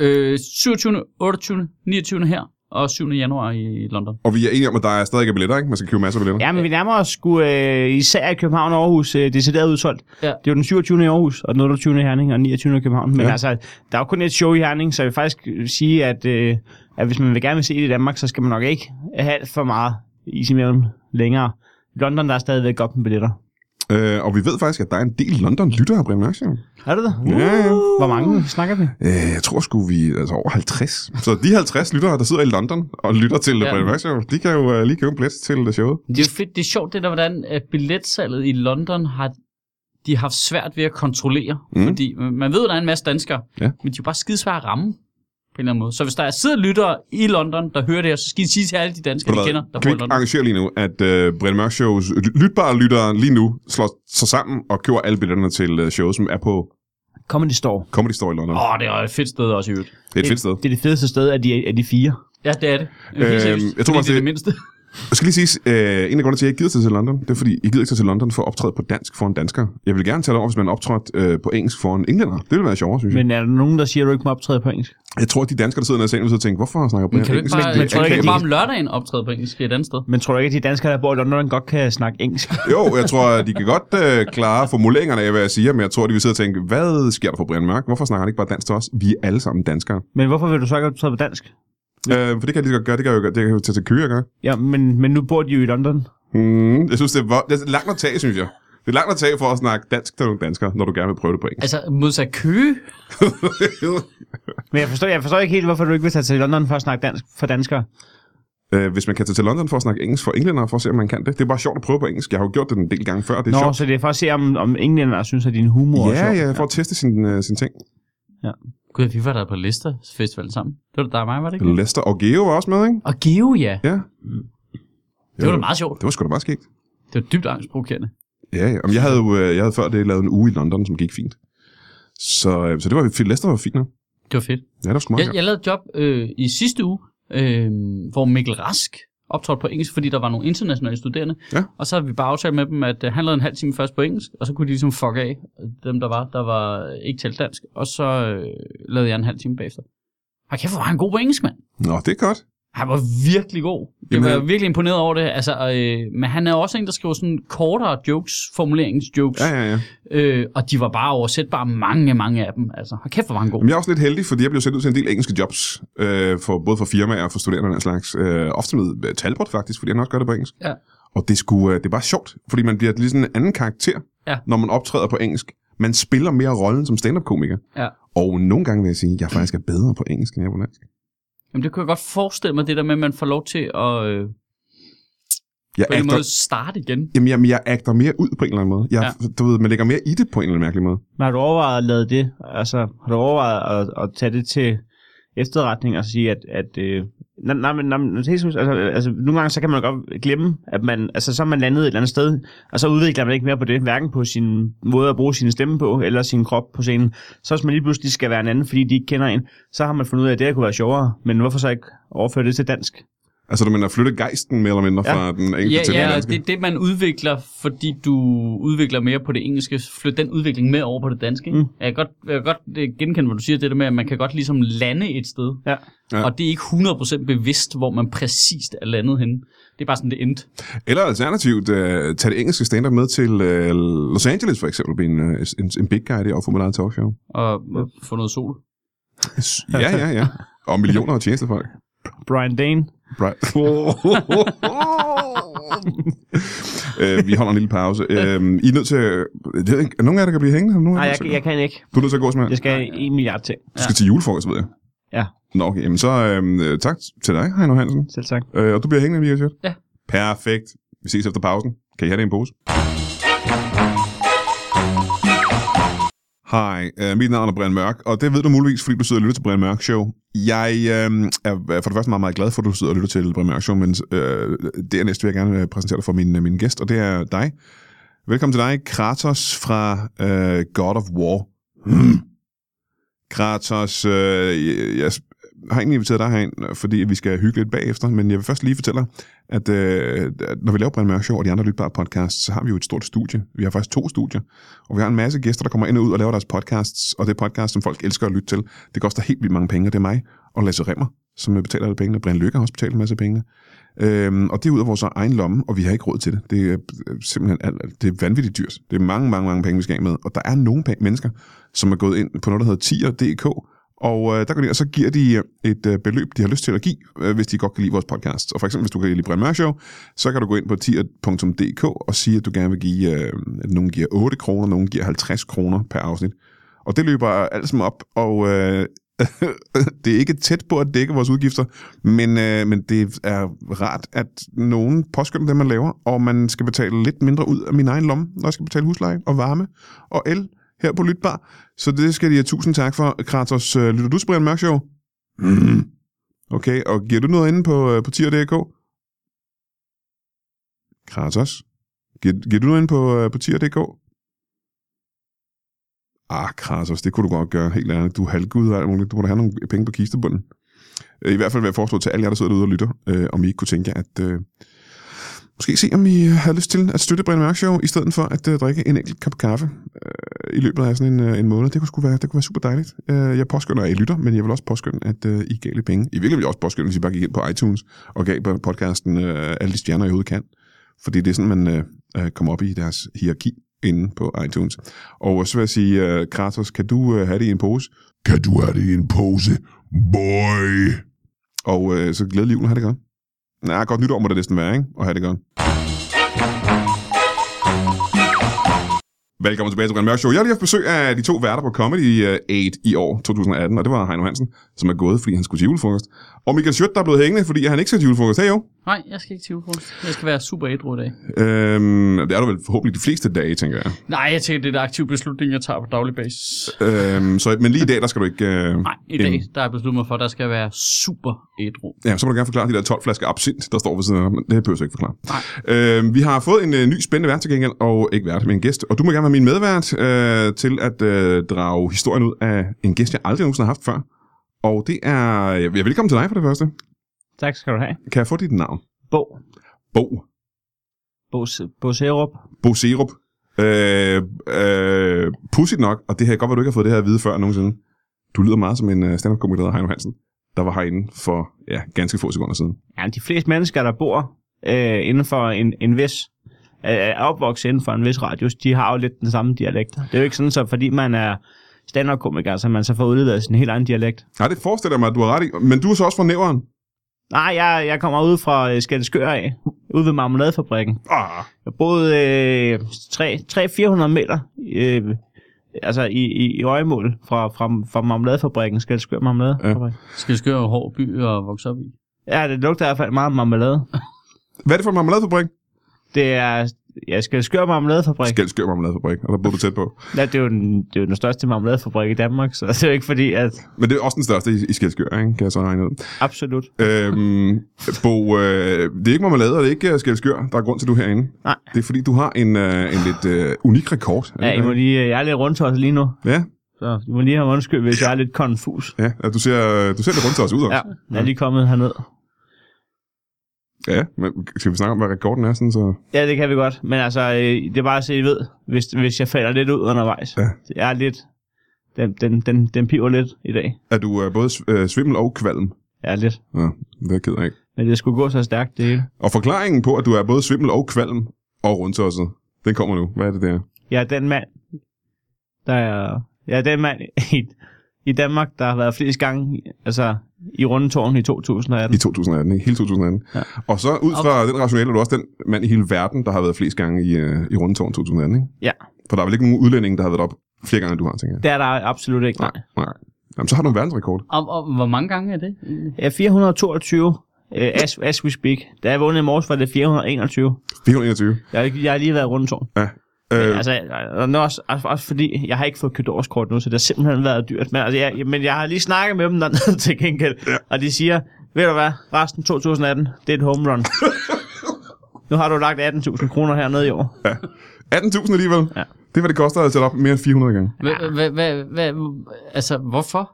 S2: Øh, 27., 28., 29. her, og 7. januar i London.
S1: Og vi er enige om, at der er stadig ikke er billetter, ikke? Man skal købe masser af billetter.
S3: Ja, men vi nærmer os sgu, øh, især i København og Aarhus, øh, decideret udsolgt.
S2: Ja.
S3: Ja. Det er jo den 27. i Aarhus, og den 28. i Herning, og den 29. i København. Men
S1: Ja.
S3: ja. altså, der er jo kun et show i Herning, så jeg vil faktisk øh, sige, at, øh, at hvis man vil gerne vil se det i Danmark, så skal man nok ikke have alt for meget is i maven længere. I London, der er stadigvæk godt med billetter.
S1: Øh, og vi ved faktisk, at der er en del London-lyttere, Brian Mørk. siger.
S3: Er det det?
S1: Ja, ja.
S3: Hvor mange snakker vi?
S1: Øh, jeg tror sgu vi altså over 50. Så de 50 lyttere, der sidder i London og lytter til
S2: Ja.
S1: ja. Brian Mørk, Show, de kan jo uh, lige købe en billet til øh, showet.
S2: Men Det er jo fedt, det er sjovt, det der, hvordan øh, billetsalget i London har de har haft svært ved at kontrollere.
S1: Mm.
S2: Mm. Fordi øh, man ved, at der er en masse danskere,
S1: Ja.
S2: men de er jo bare skidesvære at ramme på en eller anden måde. Så hvis der er sidder lyttere i London, der hører det her, så skal de sige til alle de danskere, de
S1: Ved du
S2: kender,
S1: hvad?
S2: der
S1: kan
S2: bor
S1: vi
S2: i
S1: ikke
S2: London.
S1: arrangere lige nu, at uh, Brian Mørk Shows ly- lytbare lyttere lige nu slår sig sammen og køber alle billetterne til uh, showet, som er på
S3: Comedy Store.
S1: Comedy Store i London.
S2: Åh, oh, det er et fedt sted også i øvrigt.
S1: Det er et fedt sted.
S3: Det er det fedeste sted af de, af de fire.
S2: Ja, det er det.
S1: Øhm,
S2: Helt seriøst,
S1: jeg tror
S2: fordi
S1: også,
S2: det er det
S1: det-
S2: mindste.
S1: Jeg skal lige sige, uh, en af grundene til, at jeg ikke gider tage til London, det er fordi, jeg gider ikke tage til London for at optræde på dansk for en dansker. Jeg vil gerne tale over, hvis man optrådte uh, på engelsk for en englænder. Det ville være sjovere, synes jeg.
S3: Men er der nogen, der siger, at du ikke må optræde på engelsk?
S1: Jeg tror, at de danskere, der sidder nede i salen, vil sidde og tænke, hvorfor snakker Brian
S2: Men kan du ikke
S1: engelsk?
S2: bare,
S1: Det
S2: jeg tror
S1: er
S2: ikke, at
S1: akavet.
S2: bare om lørdagen optræde på engelsk et andet sted?
S3: Men tror du ikke, at de danskere, der bor i London, godt kan snakke engelsk?
S1: Jo, jeg tror, at de kan godt øh, klare formuleringerne af, hvad jeg siger, men jeg tror, de vil sidde og tænke, hvad sker der for Brian Mørk? Hvorfor snakker han ikke bare dansk til os? Vi er alle sammen danskere.
S3: Men hvorfor vil du så ikke optræde på dansk?
S1: Øh, for det kan jeg lige så godt gøre, det kan jeg jo gøre, det kan jeg jo tage til køer gøre.
S3: Ja, men, men nu bor de jo i London.
S1: Mm, jeg synes, det er, vo- det er langt at tage, synes jeg. Det er langt at tage for at snakke dansk til nogle danskere, når du gerne vil prøve det på engelsk.
S2: Altså, modsat Køge?
S3: Men jeg forstår, jeg forstår ikke helt, hvorfor du ikke vil tage til London for at snakke dansk for danskere.
S1: Øh, hvis man kan tage til London for at snakke engelsk for englænder, for at se, om man kan det. Det er bare sjovt at prøve på engelsk. Jeg har jo gjort det en del gange før, det er
S3: Nå,
S1: sjovt.
S3: så det er for at se, om, om englænder synes, at din humor er
S1: Ja,
S3: sjov.
S1: ja, for at teste sin, øh, sin ting.
S2: Gud, vi var der på Leicester Festival sammen. Det var da dig og mig, var det ikke? det?
S1: Lester og Geo var også med, ikke?
S2: Og Geo, ja.
S1: Ja.
S2: Det var da meget sjovt.
S1: Det var sgu da meget skægt.
S2: Det var dybt angstprovokerende.
S1: Ja, ja. Jamen, jeg havde jo øh, jeg havde før det lavet en uge i London, som gik fint. Så, øh, så det var fint. Leicester var fint nok.
S2: Det var fedt.
S1: Ja, det var sgu meget
S2: Jeg, jeg lavede et job øh, i sidste uge, øh, hvor Mikkel Rask optrådte på engelsk, fordi der var nogle internationale studerende.
S1: Ja.
S2: Og så havde vi bare aftalt med dem, at øh, han lavede en halv time først på engelsk, og så kunne de ligesom fuck af øh, dem, der var, der var øh, ikke talt dansk. Og så øh, lavede jeg en halv time bagefter. Og kæft, hvor var han god på engelsk, mand.
S1: Nå, det er godt.
S2: Han var virkelig god. Jeg
S1: Jamen,
S2: var
S1: han-
S2: virkelig imponeret over det. Altså, øh, men han er også en, der skriver sådan kortere jokes, formuleringsjokes.
S1: Ja, ja, ja.
S2: Øh, og de var bare oversætbare, mange, mange af dem. Altså, hold kæft, hvor var han god.
S1: Jamen, jeg er også lidt heldig, fordi jeg blev sendt ud til en del engelske jobs, øh, for, både for firmaer og for studerende og den slags. Øh, ofte med øh, Talbot faktisk, fordi han også gør det på engelsk.
S2: Ja.
S1: Og det, skulle, øh, det er bare sjovt, fordi man bliver ligesom en anden karakter,
S2: Ja.
S1: når man optræder på engelsk. Man spiller mere rollen som stand-up-komiker.
S2: Ja.
S1: Og nogle gange vil jeg sige, at jeg faktisk er bedre på engelsk, end jeg er på dansk.
S2: Jamen, det kunne jeg godt forestille mig, det der med, at man får lov til at øh,
S1: Jeg
S2: på en
S1: agter,
S2: måde starte igen.
S1: jamen, jamen, jeg agter mere ud på en eller anden måde. Jeg, ja. du ved, man lægger mere i det på en eller anden mærkelig måde.
S3: Men har du overvejet at lade det? Altså, har du overvejet at, at tage det til efterretning og sige, at... at øh, nej, nej, men- nej, men helt seriøst, altså, altså, nogle gange så kan man godt glemme, at man, altså, så er man landet et eller andet sted, og så udvikler man ikke mere på det, hverken på sin måde at bruge sin stemme på, eller sin krop på scenen. Så hvis man lige pludselig skal være en anden, fordi de ikke kender en, så har man fundet ud af, at det her kunne være sjovere, men hvorfor så ikke overføre det til dansk?
S1: Altså, når man har flyttet gejsten mere eller mindre
S3: Ja.
S1: fra den engelske
S2: Ja,
S1: til den
S2: ja og
S1: danske.
S2: det er det, man udvikler, fordi du udvikler mere på det engelske. Flyt den udvikling med over på det danske. Mm.
S3: Mm.
S2: Jeg kan godt, jeg kan godt øh, genkende, hvad du siger, det der med, at man kan godt ligesom lande et sted.
S3: Ja.
S1: Ja.
S2: Og det er ikke 100% bevidst, hvor man præcist er landet henne. Det er bare sådan, det endte.
S1: Eller alternativt, øh, tage det engelske stand-up med til øh, Los Angeles for eksempel, blive en, øh, en, en big guy der og få mit eget talkshow.
S2: Og og få noget sol.
S1: ja, ja, ja. Og millioner af tjenestefolk.
S3: Brian Dane.
S1: Right. øh, vi holder en lille pause. Øh, I er nødt til... Det ved jeg ikke, er nogen af jer, der kan blive hængende? Nogen af
S3: Nej,
S1: jer,
S3: jeg,
S1: der
S3: jeg kan ikke.
S1: Du er nødt til at gå, Smag.
S3: Jeg skal en milliard ting.
S1: Du skal til julefrokost, ved jeg.
S3: Ja.
S1: Nå, okay. Jamen, så øh, tak til dig, Heino Hansen.
S3: Selv tak.
S1: Øh, og du bliver hængende, Michael
S2: Ja.
S1: Perfekt. Vi ses efter pausen. Kan I have det i en pose? Hej, øh, mit navn er Brian Mørk, og det ved du muligvis, fordi du sidder og lytter til Brian Mørk Show. Jeg øh, er for det første meget, meget glad for, at du sidder og lytter til Brian Mørk Show, men øh, dernæst vil jeg gerne øh, præsentere dig for min, øh, min gæst, og det er dig. Velkommen til dig, Kratos fra øh, God of War. Hmm. Kratos, øh, jeg, jeg har egentlig inviteret dig herind, fordi vi skal hygge lidt bagefter, men jeg vil først lige fortælle dig, at øh, at når vi laver Brian Mørk Show og de andre lytbare podcasts, så har vi jo et stort studie. Vi har faktisk to studier, og vi har en masse gæster, der kommer ind og ud og laver deres podcasts, og det er podcasts, som folk elsker at lytte til. Det koster helt vildt mange penge, og det er mig og Lasse Remmer, som betaler alle pengene. Brian Lykke har også betalt en masse penge. Øhm, og det er ud af vores egen lomme, og vi har ikke råd til det. Det er øh, simpelthen alt- alt- det er vanvittigt dyrt. Det er mange, mange, mange penge, vi skal af med. Og der er nogle penge, mennesker, som er gået ind på noget, der hedder tier.dk, og øh, der går de, ind, og så giver de et øh, beløb, de har lyst til at give, øh, hvis de godt kan lide vores podcast. Og for eksempel, hvis du kan lide Brian Mørk Show, så kan du gå ind på tier.dk og sige, at du gerne vil give, øh, at nogen giver 8 kroner, nogen giver 50 kroner per afsnit. Og det løber alt sammen op, og øh, det er ikke tæt på at dække vores udgifter, men, øh, men det er rart, at nogen påskynder det, man laver, og man skal betale lidt mindre ud af min egen lomme, når jeg skal betale husleje og varme og el her på Lytbar. Så det skal de have tusind tak for, Kratos. Øh, Lytter du til Brian Mørk Show? Mm. Okay, og giver du noget inde på, øh, på tier.dk? Kratos? Giver, giver du noget inde på, øh, på tier.dk? Ah, Kratos, det kunne du godt gøre, helt ærligt. Du er halvgud og alt muligt. Du må da have nogle penge på kistebunden. Øh, I hvert fald vil jeg foreslå til alle jer, der sidder derude og lytter, øh, om I ikke kunne tænke jer, at øh, måske se, om I har lyst til at støtte Brian Mørk Show, i stedet for at øh, drikke en enkelt kop kaffe øh, i løbet af sådan en, øh, en måned. Det kunne, sgu være, det kunne være super dejligt. Øh, jeg påskynder, at I lytter, men jeg vil også påskynde, at øh, I gav lidt penge. I virkelig vil jeg også påskynde, hvis I bare gik ind på iTunes og gav på podcasten øh, alle de stjerner, I overhovedet kan. Fordi det er sådan, man øh, øh, kommer op i deres hierarki inde på iTunes. Og så vil jeg sige, øh, Kratos, kan du øh, have det i en pose? Kan du have det i en pose, boy? Og øh, så glædelig jul, og have det godt. Nej, godt nytår må det næsten være, ikke? Og have det godt. Velkommen tilbage til Brian Mørk Show. Jeg har lige haft besøg af de to værter på Comedy øh, 8 i år 2018, og det var Heino Hansen, som er gået, fordi han skulle til julefrokost. Og Michael Schødt, der er blevet hængende, fordi han ikke skal til julefrokost. Hey jo.
S2: Nej, jeg skal ikke til julefrokost. Jeg skal være super ædru i dag.
S1: Øhm, det er du vel forhåbentlig de fleste dage, tænker jeg.
S2: Nej, jeg tænker, det er en aktiv beslutning, jeg tager på daglig basis.
S1: Øhm, så, men lige i dag, der skal du ikke... Øh,
S2: Nej, i
S1: Jamen.
S2: dag der er jeg besluttet mig for, at der skal være super ædru.
S1: ja, så må du gerne forklare de der 12 flasker absint, der står ved siden af, men det her behøver jeg ikke forklare. Øhm, vi har fået en øh, ny spændende vært til gengæld, og ikke vært, men en gæst. Og du må gerne være min medvært øh, til at øh, drage historien ud af en gæst, jeg aldrig nogensinde har haft før. Og det er... Jeg ja, velkommen til dig for det første.
S3: Tak skal du have.
S1: Kan jeg få dit navn?
S3: Bo.
S1: Bo.
S3: Bo, Bo Serup.
S1: Bo Serup. Øh, øh, pudsigt nok, og det her godt være, du ikke har fået det her at vide før nogensinde. Du lyder meget som en øh, stand-up-komiker, der hedder Heino Hansen, der var herinde for ja, ganske få sekunder siden.
S3: Ja, de fleste mennesker, der bor øh, inden for en, en vis øh, er opvokset inden for en vis radius, de har jo lidt den samme dialekt. Det er jo ikke sådan, så fordi man er stand-up-komiker, så man så får udledet sin helt egen dialekt.
S1: Nej, det forestiller jeg mig, at du har ret i. Men du er så også fra Næveren.
S3: Nej, jeg, jeg kommer ud fra øh, Skældskør af, ude ved marmeladefabrikken.
S1: Ah,
S3: Jeg boede øh, 300-400 meter øh, altså i, i, i øjemål fra, fra, fra marmeladefabrikken, Skældskør Marmeladefabrik.
S2: Skal skøre hård by og vokse op i.
S3: Ja. ja, det lugter i hvert fald meget af marmelade.
S1: hvad er det for en marmeladefabrik?
S3: Det er, ja, Skældskør Marmeladefabrik.
S1: Skældskør marmeladefabrik, og der bor du tæt på.
S3: Ja, det er, jo den, det er jo den største marmeladefabrik i Danmark, så det er jo ikke fordi, at...
S1: Men det er også den største i, i Skældskør, ikke? kan jeg så regne ud.
S3: Absolut.
S1: Øhm, Bo, øh, det er ikke marmelade, og det er ikke øh, Skældskør, der er grund til, at du er herinde.
S3: Nej.
S1: Det er fordi, du har en, øh, en lidt øh, unik rekord. Er det
S3: Ja, I
S1: ikke
S3: må
S1: det?
S3: lige, jeg er lidt rundt også lige nu,
S1: ja,
S3: så I må lige have undskyld, hvis jeg er lidt konfus.
S1: ja, ja, du ser, øh, du ser lidt rundt til os ud også.
S3: Ja, jeg er lige kommet herned.
S1: Ja, men skal vi snakke om, hvad rekorden er? Sådan, så...
S3: Ja, det kan vi godt, men altså, øh, det er bare så I ved, hvis, hvis jeg falder lidt ud undervejs.
S1: Ja.
S3: Jeg er lidt... Den, den, den, den piver lidt i dag.
S1: Er du øh, både sv- øh, svimmel og kvalm?
S3: Ja, lidt.
S1: Ja, det er jeg ked af, ikke.
S3: Men det skulle gå så stærkt, det hele.
S1: Og forklaringen på, at du er både svimmel og kvalm og rundtosset, den kommer nu. Hvad er det der?
S3: Jeg er den mand, der er... Jeg er den mand i, i Danmark, der har været flest gange altså, i rundetårn i 2018.
S1: I 2018, ikke? Hele 2018. Ja.
S3: Ja.
S1: Og så ud fra den rationelle, er du også den mand i hele verden, der har været flest gange i, øh, i rundetårn 2018, ikke?
S3: Ja.
S1: For der er vel ikke nogen udlænding, der har været op flere gange, end du har, tænker jeg.
S3: Det er der absolut ikke, nej.
S1: Nej. Jamen, så har du en verdensrekord.
S2: Og, og hvor mange gange er det? egentlig?
S3: Ja, 422, øh, as, as we speak. Da jeg vågnede i morges, var det 421.
S1: 421.
S3: Jeg, har ikke- jeg har lige været rundt om.
S1: Øh,
S3: Øh. Altså, jeg- og nu også, også, også, fordi, jeg har ikke fået købt årskort nu, så det har simpelthen været dyrt. Men, altså, jeg, men jeg har lige snakket med dem dernede til gengæld, ja. og de siger, ved du hvad, resten 2018, det er et home run. nu har du lagt 18.000 kroner hernede i år.
S1: 18.000 alligevel.
S3: Ja.
S1: Det er, hvad det koster at sætte op mere end 400 gange.
S2: Hvad- hvad- hvad- hvad- Altså, hvorfor?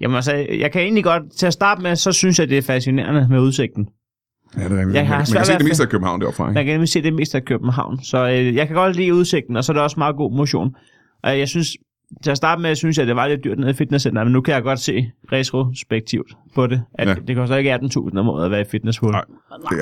S3: Jamen altså, jeg kan egentlig godt, til at starte med, så synes jeg, det er fascinerende med udsigten.
S1: Ja, det er rigtigt.
S3: Jeg har
S1: man, man
S3: svært
S1: kan
S3: ved
S1: se
S3: at
S1: det meste
S3: finde-
S1: af København deroppe.
S3: Man kan nemlig se det meste af København. Så øh, jeg kan godt lide udsigten, og så er det også meget god motion. Og jeg synes, til at starte med, synes jeg, det var lidt dyrt nede i fitnesscenteret, men nu kan jeg godt se retrospektivt på det. At
S1: Ja.
S3: ja. Det koster ikke 18.000 om året at være i fitnessfull.
S1: Nej.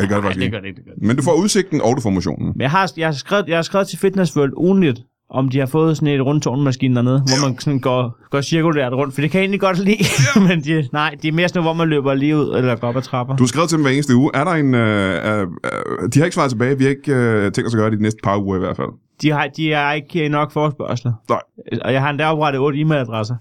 S1: Det gør det faktisk
S2: det
S1: ikke.
S2: gør det, ikke, det gør det.
S1: Men du får udsigten, og du får motionen.
S3: Men jeg har, jeg, har skrevet, jeg har skrevet til Fitnessworld ugenligt, om de har fået sådan et rundtårnmaskine dernede, hvor man sådan går, går cirkulært rundt, for det kan jeg egentlig godt lide, men de, nej, det er mere sådan noget, hvor man løber lige ud, eller går op ad trapper.
S1: Du har skrevet til dem hver eneste uge. Er der en... Øh, øh, øh, de har ikke svaret tilbage. Vi har ikke øh, tænkt os at gøre det de næste par uger i hvert fald.
S3: De har, de har ikke nok forspørgseler.
S1: Nej.
S3: Og jeg har endda oprettet otte e-mailadresser.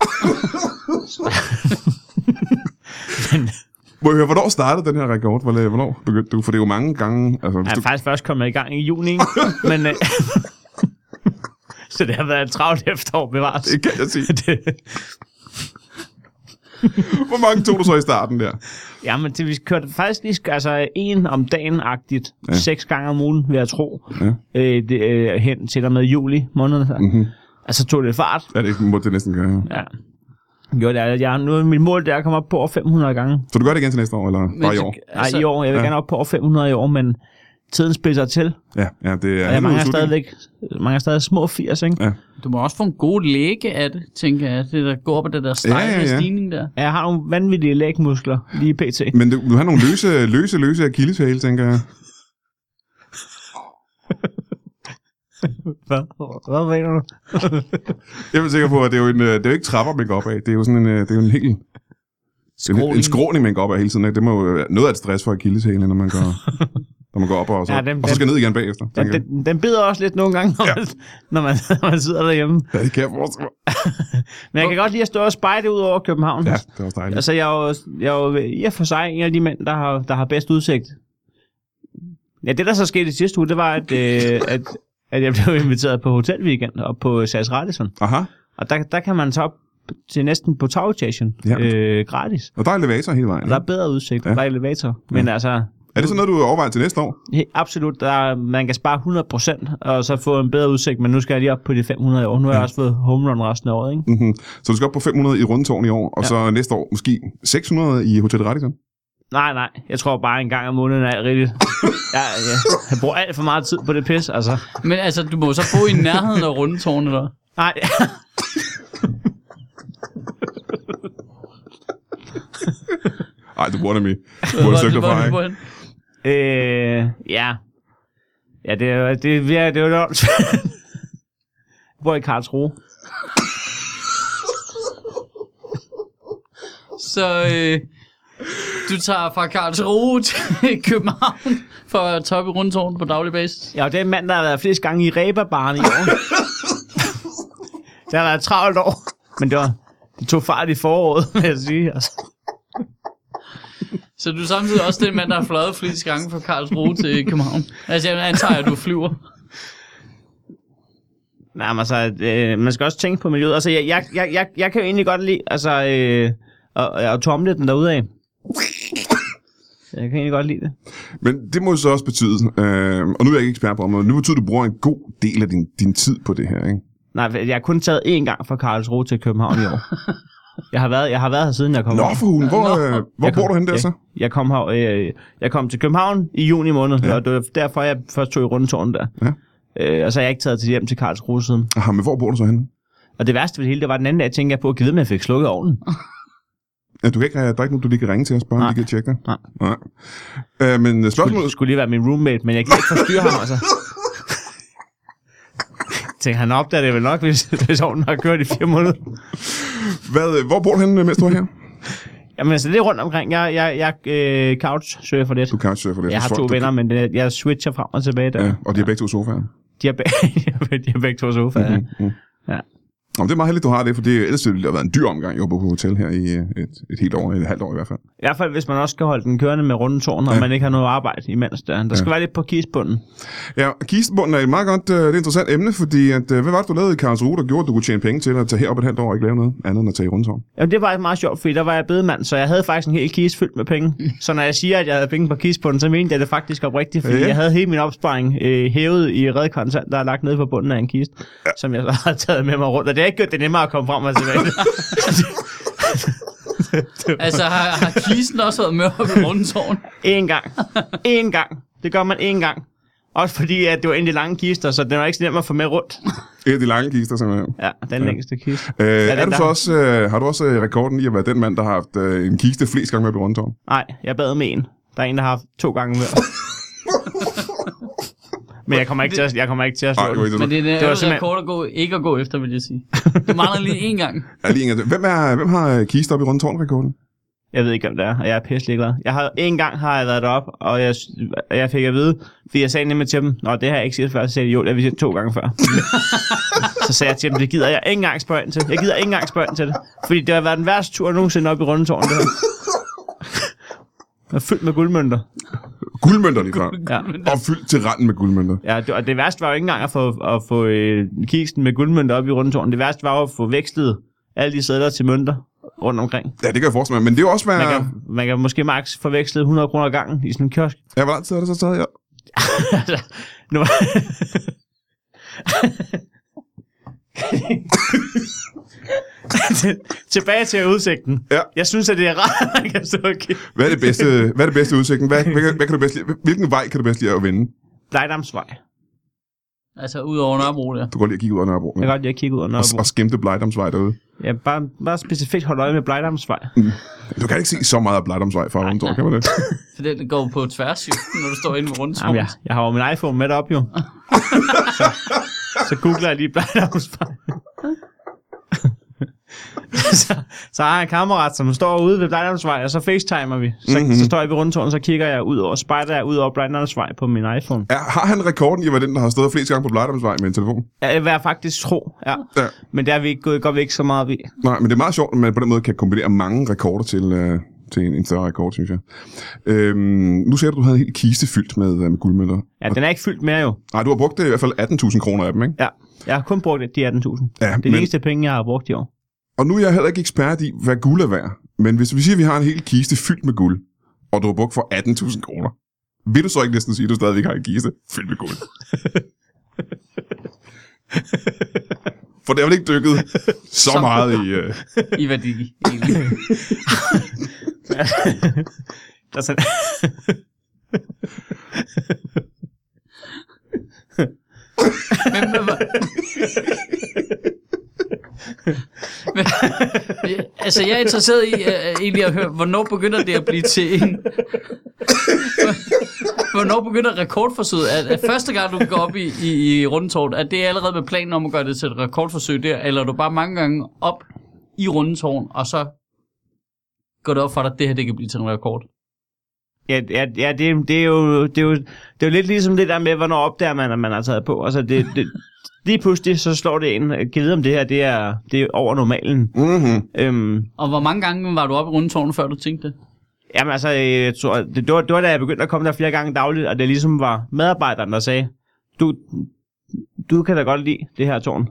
S1: Må jeg høre, hvornår startede den her rekord? Hvor- øh, Hvornår begyndte du? For det er jo mange gange... Altså, hvis
S3: Jeg
S1: du,
S3: er faktisk først kommet i gang i juni, ikke? men... Øh, så det har været et travlt efterår, bevares.
S1: det kan jeg sige.
S3: Det,
S1: Hvor mange tog du så i starten der?
S3: jamen, det, vi kørte faktisk lige sk- altså, en om dagen-agtigt, ja. seks gange om ugen, vil jeg tro,
S1: Ja.
S3: øh, det, øh, hen til og med juli måned. Så.
S1: Mhm.
S3: Altså tog det fart.
S1: Ja, det må det næsten gøre. ja.
S3: Ja. Jo, det er, jeg, nu er mit mål det er at komme op på over 500 gange.
S1: Så du gør det igen til næste år, eller bare i år?
S3: Nej, altså, i år. Jeg vil
S1: ja.
S3: ja. gerne op på over 500 i år, men tiden spidser til.
S1: Ja, ja det er...
S3: Ja, jeg
S1: en
S3: mangler
S1: udslutning.
S3: stadigvæk mange er stadig små 80, ikke?
S2: Du må også få en god læge af det, tænker jeg. Det der går op ad det der stejle
S1: Ja,
S2: ja,
S1: ja,
S2: ja,
S1: ja.
S2: stigning der.
S3: Jeg har nogle vanvittige lægmuskler lige pt.
S1: Men du, du har nogle løse, løse, løse akilleshæle, tænker jeg.
S3: Hvad? Hvad mener du?
S1: Jeg er sikker på, at det er jo, en, øh, det er jo ikke trapper, man går op af. Det er jo sådan en, øh, det er jo en hel... En, en skråning, man går op af hele tiden. ikke? Det må jo være noget af et stress for akilleshælen, når man går... når man går op og så,
S3: Ja,
S1: ja,
S3: dem-
S1: dem, og så skal ned igen bagefter.
S3: Den,
S1: tænker jeg.
S3: den, den bider også lidt nogle gange, når, ja. man, når, man, når man sidder derhjemme.
S1: Ja, det kan jeg forestille mig.
S3: Men jeg kan godt lide at stå og spejde ud over København.
S1: Ja, det var også dejligt.
S3: Altså, jeg er jo, jeg er jo i og for sig en af de mænd, der har, der har bedst udsigt. Ja, det der så skete i sidste uge, det var, at, øh, at, at jeg blev inviteret på hotelweekend op på SAS Radisson.
S1: Aha,
S3: Og der, der kan man tage op til næsten på tagetagen
S1: Ja.
S3: øh, gratis.
S1: og der er elevator hele vejen.
S3: Og der er bedre udsigt, ja.
S1: Ja.
S3: der er elevator. Men altså,
S1: Er det sådan noget, du overvejer til næste år?
S3: he- absolut, der, er- man kan spare 100% og så få en bedre udsigt. Men nu skal jeg lige op på de 500 i år. Nu har jeg også fået home run resten af året, ikke?
S1: Mm-hmm. Så du skal op på 500 i rundetårn i år, og
S3: Ja.
S1: ja. så næste år måske 600 i Hotel Radisson.
S3: Nej, nej. Jeg tror bare en gang om måneden er rigtigt. Jeg, jeg, jeg bruger alt for meget tid på det pis, altså.
S2: Men altså, du må jo så bo i nærheden af rundetårnet der.
S3: Nej.
S1: Ej, du burde mig. Du burde søge dig fra, ikke?
S3: øh, ja. Ja, det er det, er, det er, det er jo åndssvagt. Jeg bor i Karlsruhe.
S2: Så øh, du tager fra Karlsruhe til København for at toppe rundetårnet på daglig basis.
S3: Ja, og det er en mand, der har været flest gange i Rebarbaren i år. det har været et travlt år. Men det, var, det tog fart i foråret, vil jeg sige. Altså.
S2: Så du er samtidig også den mand, der har fløjet flest gange fra Karlsruhe til København. Altså, jeg antager, at du flyver.
S3: Nej, men altså, øh, man skal også tænke på miljøet. Altså, jeg, jeg, jeg, jeg, jeg kan jo egentlig godt lide, altså, øh, og, og tomle den derude af. Jeg kan egentlig godt lide det.
S1: Men det må jo så også betyde, øh, og nu er jeg ikke ekspert på området, nu betyder, at du bruger en god del af din, din tid på det her, ikke?
S3: Nej, for jeg har kun taget én gang fra Karlsruhe til København i år. jeg, har været, jeg har været her siden jeg kom.
S1: Nå
S3: her.
S1: for hulen, hvor,
S2: Nå.
S1: øh, hvor
S3: Jeg kom-
S1: bor du henne der
S3: ja.
S1: så?
S3: Jeg kom, her, øh, jeg kom til København i juni måned, ja. og det var derfor, jeg først tog i rundetårnet der.
S1: Ja.
S3: Øh, og så har jeg ikke taget til hjem til Karlsruhe siden.
S1: Aha, men hvor bor du så henne?
S3: Og det værste ved det hele, det var den anden dag, jeg tænkte jeg på, at give med, at jeg fik slukket ovnen.
S1: Ja, du kan ikke, der er ikke nogen, du lige kan ringe til os, bare
S3: Nej.
S1: lige kan tjekke dig.
S3: Nej.
S1: Nej. Øh, men
S3: Det
S1: spørgsmålet...
S3: skulle lige være min roommate, men jeg kan ikke forstyrre ham, altså. Jeg tænkte, han opdager det vel nok, hvis, hvis ovnen har kørt i fire måneder.
S1: Hvad, øh, hvor bor du henne, mens du er her?
S3: Jamen altså, det er rundt omkring. Jeg, jeg, jeg øh, couchsurfer lidt.
S1: Du kan jo for det.
S3: Jeg har to venner, men det, jeg switcher frem og tilbage der.
S1: Ja, og de er begge to i sofaen.
S3: De har, be- de har be- de har begge to sofaer. Mm-hmm.
S1: Mm.
S3: Ja.
S1: Nå, men det er meget heldigt, du har det, for det, ellers ville det have været en dyr omgang, jeg på hotel her i øh, et, et helt år, eller et halvt år i hvert fald.
S3: I hvert fald, hvis man også skal holde den kørende med runde tårn, og
S1: Ja.
S3: man ikke har noget arbejde imens der. Der skal være lidt på kisbunden.
S1: Ja, kistebunden er et meget godt, øh, det er et interessant emne, fordi at, øh, hvad var det, du lavede i Karlsruhe, der gjorde, at du kunne tjene penge til at tage herop et halvt år og ikke lave noget andet end at tage i rundtårn?
S3: Jamen, det var faktisk meget sjovt, fordi der var jeg bedemand, så jeg havde faktisk en hel kiste fyldt med penge.
S1: Mm.
S3: Så når jeg siger, at jeg havde penge på kisbunden, så mente jeg det faktisk oprigtigt, fordi
S1: Ja.
S3: jeg havde hele min opsparing øh, hævet i redkontant, der er lagt nede på bunden af en kiste, som jeg så har taget med mig rundt. Og det har ikke gjort det nemmere at komme frem og tilbage.
S2: Altså, har, har kisten også været med op i rundetårnet?
S3: En gang. En gang. Det gør man en gang. Også fordi, at det var en af de lange kister, så den var ikke så nem at få med rundt.
S1: Et af de lange kister, simpelthen.
S3: Ja, den ja. længste kiste.
S1: Øh, er,
S3: den
S1: er du så
S3: der?
S1: også, øh, har du også øh, rekorden i at være den mand, der har haft øh, en kiste flest gange med på rundtårn?
S3: Nej, jeg bad med en. Der er en, der har haft to gange mere. Men jeg kommer ikke til at, jeg kommer ikke til at
S1: Nej,
S3: slå
S1: det var
S3: den.
S1: ikke det.
S2: Men det er en
S3: var
S2: ærgerlig
S3: simpelthen-
S2: rekord at gå, ikke at gå efter, vil jeg sige. Du mangler lige én gang.
S1: Ja, lige en gang til. Hvem, er, hvem har øh, kiste op i rundtårn-rekorden?
S3: Jeg ved ikke, om det er, og jeg er pisselig glad. Jeg har, en gang har jeg været deroppe, og jeg, jeg fik at vide, fordi jeg sagde nemlig til dem, Nå, det har jeg ikke set før, så sagde de, jo, det har vi set to gange før. så sagde jeg til dem, det gider jeg ikke engang spørge ind til. Jeg gider ikke engang spørge ind til det. Fordi det har været den værste tur nogensinde op i Rundetårnet. Det her. Jeg er fyldt med guldmønter.
S1: Guldmønter lige før.
S3: Ja.
S1: Og fyldt til randen med guldmønter.
S3: Ja, det, og det værste var jo ikke engang at få, at få øh, kiksen med guldmønter op i rundtårnet. Det værste var jo at få vekslet alle de sædler til mønter rundt omkring.
S1: Ja, det kan jeg forestille mig. Men det er jo også, hvad...
S3: Man, kan, man kan måske maks forveksle 100 kroner ad gangen i sådan en kiosk.
S1: Ja, hvor lang tid har det så taget? Ja.
S3: Nu... Tilbage til udsigten.
S1: Ja.
S3: Jeg synes, at det er rart, at man kan stå og kigge.
S1: Hvad er det bedste, hvad er det bedste udsigten? Hvad, hvad, kan- hvad, kan du bedst lide? Hvilken vej kan du bedst lide at vende?
S3: Blejdamsvej. Jeg
S2: Altså, ud over Nørrebro der.
S1: Du går lige at kigge ud af Nørrebro.
S3: kan godt lide at kigge ud af
S1: Og,
S3: Nørrebro.
S1: og skimte Blejdomsvej derude.
S3: Ja, bare, bare specifikt holde øje med Blejdamsvej.
S1: Du kan ikke se så meget af Blejdomsvej fra Rundtårn, kan man det?
S2: For den går på tværs, jo, når du står inde ved
S3: Jamen,
S2: rundetårnet.
S3: jeg, jeg har jo min iPhone med op jo. så, så googler jeg lige Blejdamsvej. så, så har jeg en kammerat, som står ude ved Blejnavnsvej, og så facetimer vi. Så, mm-hmm. så står jeg ved rundtårnet, så kigger jeg ud over, spejder jeg ud over Blejnavnsvej på min iPhone.
S1: Er, har han rekorden i at være den, der har stået flest gange på Blejdomsvej med en telefon?
S3: Jeg vil jeg faktisk tro, ja.
S1: Ja.
S3: Men der er vi ikke gået godt væk så meget ved.
S1: Nej, men det er meget sjovt, at man på den måde kan kombinere mange rekorder til, øh, til en, en større rekord, synes jeg. Øhm, nu sagde du, at du havde en hel kiste fyldt med, øh, med guldmønter.
S3: Ja, den er ikke fyldt mere jo.
S1: Nej, du har brugt øh, i hvert fald 18.000 kroner af dem, ikke?
S3: Ja. Jeg har kun brugt de 18.000.
S1: Ja,
S3: Det er de eneste penge, jeg har brugt i år.
S1: Og nu er jeg heller ikke ekspert i, hvad guld er værd. Men hvis vi siger, at vi har en hel kiste fyldt med guld, og du har brugt for 18.000 kroner, vil du så ikke næsten sige, at du stadigvæk har en kiste fyldt med guld? For det har vel ikke dykket så meget i... Øh...
S2: i værdi. egentlig.
S3: Der er sådan...
S2: Men, men, hvor- men, ja, altså, jeg er interesseret i uh, egentlig at høre, hvornår begynder det at blive til en... Hvornår begynder rekordforsøget? At, at første gang, du går op i, i, i rundetårnet, at det er allerede med planen om at gøre det til et rekordforsøg der, eller er du bare mange gange op i rundetårn, og så går det op for dig, at det her det kan blive til en rekord.
S3: Ja, ja, ja det, det, er jo, det, er jo, det er jo lidt ligesom det der med, hvornår opdager man, at man har taget på. Altså, det, det, lige pludselig så slår det ind. Kan vide, om det her det er, det er over normalen.
S1: Mm-hmm.
S3: Øhm,
S2: Og hvor mange gange var du oppe i rundetårnet, før du tænkte det?
S3: jamen altså, jeg tror, det, det, var, det var da jeg begyndte at komme der flere gange dagligt, og det ligesom var medarbejderen, der sagde, du, du kan da godt lide det her tårn.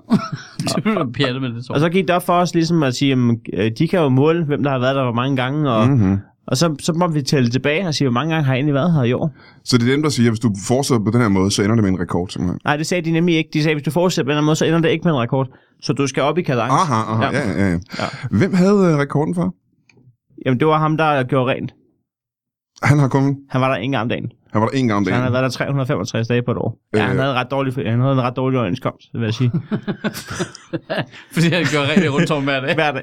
S2: Det blev pjattet med det tårn.
S3: Og så gik det op for os ligesom at sige, jamen, øh, de kan jo måle, hvem der har været der hvor mange gange, og, mm.
S1: Mm-hmm.
S3: og så, så må vi tælle tilbage og sige, hvor mange gange har jeg egentlig været her i år.
S1: Så det er dem, der siger, at hvis du fortsætter på den her måde, så ender det med en rekord, simpelthen.
S3: Nej, det sagde de nemlig ikke. De sagde, hvis du fortsætter på den her måde, så ender det ikke med en rekord. Så du skal op i kadence.
S1: Aha, aha, ja, ja, ja. ja.
S3: Ja.
S1: Hvem havde øh, rekorden for?
S3: Jamen, det var ham, der gjorde rent.
S1: Han har kun...
S3: Han var der en gang om dagen.
S1: Han var der en gang om
S3: Så han havde
S1: dagen.
S3: været der 365 dage på et år. Ja, han
S1: Øh.
S3: havde, ret dårlig, han havde en ret dårlig overenskomst, vil jeg sige.
S2: Fordi jeg gør rigtig rundt om hver dag.
S3: Hver dag.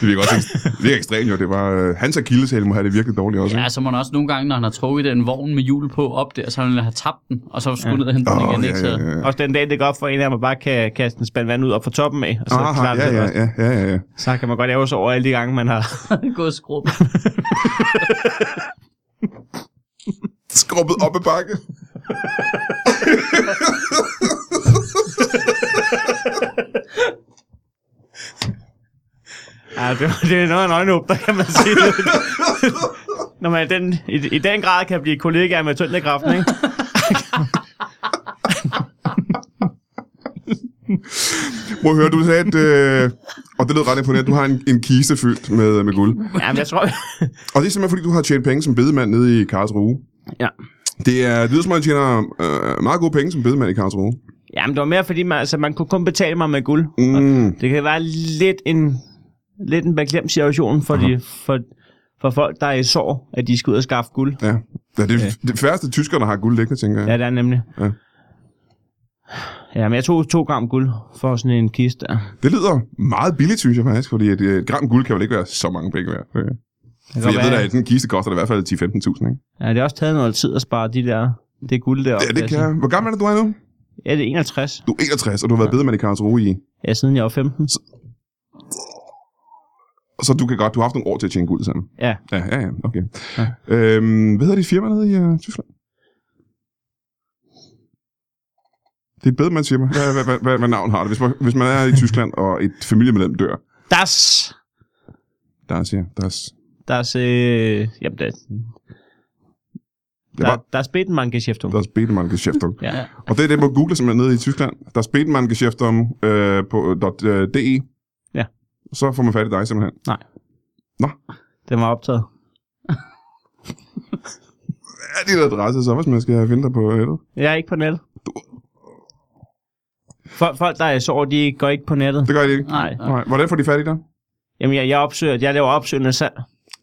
S1: Det virker også ekst- det virker ekstremt, jo. Det var... Øh, hans akilleshæl må have det virkelig dårligt også, ikke?
S2: Ja, så må han også nogle gange, når han har trukket den vogn med hjul på op der, så har han have tabt den, og så skulle ja. ned og hente den
S1: Åh,
S2: igen.
S1: ja,
S2: ikke? Så-
S1: ja, ja.
S3: Også den dag, det går op for en af dem, at bare kan kaste en spand vand ud op fra toppen af. Og så,
S1: Aha,
S3: klarer
S1: ja,
S3: det
S1: ja,
S3: også.
S1: ja, ja, ja, ja.
S3: så kan man godt ære sig over alle de gange, man har...
S2: Det er gået skrub.
S1: skrubbet op ad bakke.
S3: Ja, det, det er noget af en øjenåbner, kan man sige. Når man i den, i, i den grad kan blive kollegaer med tyndekraften, ikke?
S1: Må jeg høre, du sagde, at, øh, og det lød ret imponerende, du har en, en kiste fyldt med, med guld.
S3: Jamen, jeg tror...
S1: Og det er simpelthen, fordi du har tjent penge som bedemand nede i Karlsruhe.
S3: Ja.
S1: Det, er, det lyder som om, at tjener øh, meget gode penge som bedemand i Karlsruhe.
S3: Jamen, det var mere, fordi man, altså, man kunne kun betale mig med guld.
S1: Mm.
S3: Det kan være lidt en, lidt en beklemt situation for, de, for, for folk, der er i sorg, at de skal ud og skaffe guld.
S1: Ja. ja det er det færreste tyskere, der har guld liggende, tænker jeg.
S3: Ja, det er nemlig.
S1: Ja.
S3: Ja, men jeg tog to gram guld for sådan en kiste der.
S1: Det lyder meget billigt, synes jeg faktisk, fordi et, et gram guld kan vel ikke være så mange penge værd. Øh.
S3: Det
S1: Fordi jeg ved da, at sådan en kiste koster det i hvert fald 10-15.000, ikke?
S3: ja, det har også taget noget tid at spare de der, det guld der.
S1: Ja, det kan jeg. Hvor gammel er det, du er nu?
S3: Ja, det er 61.
S1: Du er 61, og du har været bedemand i Karlsruhe i...
S3: Ja, siden jeg var 15.
S1: Så du kan godt, du har haft nogle år til at tjene guld sammen.
S3: Ja,
S1: Ja, ja, ja, okay. Ja.
S3: Ja.
S1: Øhm, hvad hedder dit firma nede i uh, Tyskland? Det er et bedemandsfirma. Hvad, hvad, hvad, hvad, hvad navn har det? Hvis man, hvis man er i Tyskland, og et familiemedlem dør,
S3: das!
S1: der siger, der er...
S3: Das, øh, jamen,
S1: Der,
S3: der, der, der er spidt en Geschäftung.
S1: der er Bedemann-Geschäftung.
S3: Ja.
S2: Ja.
S1: Og det er det, man googler simpelthen nede i Tyskland. Der er Bedemann-Geschäftung øh, på øh, .de.
S3: Ja.
S1: Så får man fat i dig simpelthen.
S3: Den var optaget.
S1: Hvad er din adresse så, hvis man skal finde dig på nettet?
S3: Jeg er ikke på nettet. Folk, folk der er i sorg, de går ikke på nettet.
S1: Det gør de ikke.
S2: Nej.
S1: Nej. Hvordan får de fat i dig?
S3: Jamen, jeg, jeg, opsøger, jeg laver opsøgende salg.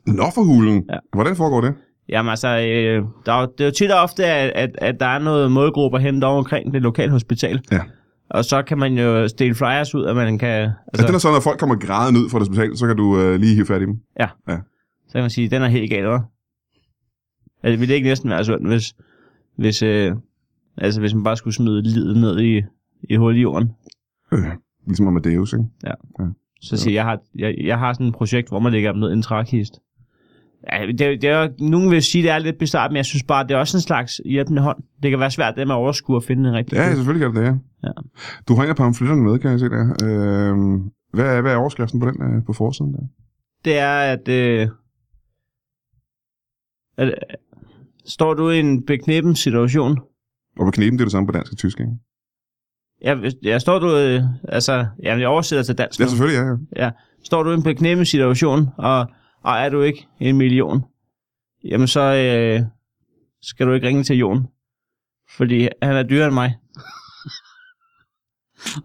S1: Nå for hulen.
S3: Ja.
S1: Hvordan foregår det?
S3: Jamen altså, øh, der er, jo- det er jo tit og ofte, at, at, at der er noget målgrupper hen over omkring det lokale hospital.
S1: Ja.
S3: Og så kan man jo stille flyers ud, at man kan...
S1: Altså,
S3: Altså,
S1: den er sådan, at folk kommer grædende ud fra det hospital, så kan du øh, lige hive fat i dem.
S3: Så kan man sige, den er helt galt, hva'? Altså, ville det ikke næsten være sådan, hvis, hvis, øh, altså, hvis man bare skulle smide livet ned i, i hul i jorden?
S1: Øh, Ligesom Amadeus, ikke?
S3: Så siger jeg, jeg har, jeg, jeg har sådan et projekt, hvor man lægger dem ned i en trækist. Ja, det, er- det er, jo- nogen vil sige, det er lidt bestart, men jeg synes bare, det er også en slags hjælpende hånd. Det kan være svært, det med at overskue at finde en rigtig
S1: Ja,
S3: god-
S1: selvfølgelig kan det det,
S3: Ja.
S1: Du har en af pamfletterne med, kan jeg se der. Øhm, hvad, er, hvad er overskriften på den øh, på forsiden der?
S3: det er, at, øh, at øh, står du i en bekneppen situation,
S1: Og på knepen, det er det samme på dansk og tysk, ikke?
S3: jeg, jeg står du, øh, altså, jamen, jeg oversætter til dansk,
S1: Ja,
S3: nu.
S1: selvfølgelig, ja. ja.
S3: står du i en bekneppen situation, og, og er du ikke en million, jamen så øh, skal du ikke ringe til Jon, fordi han er dyrere end mig.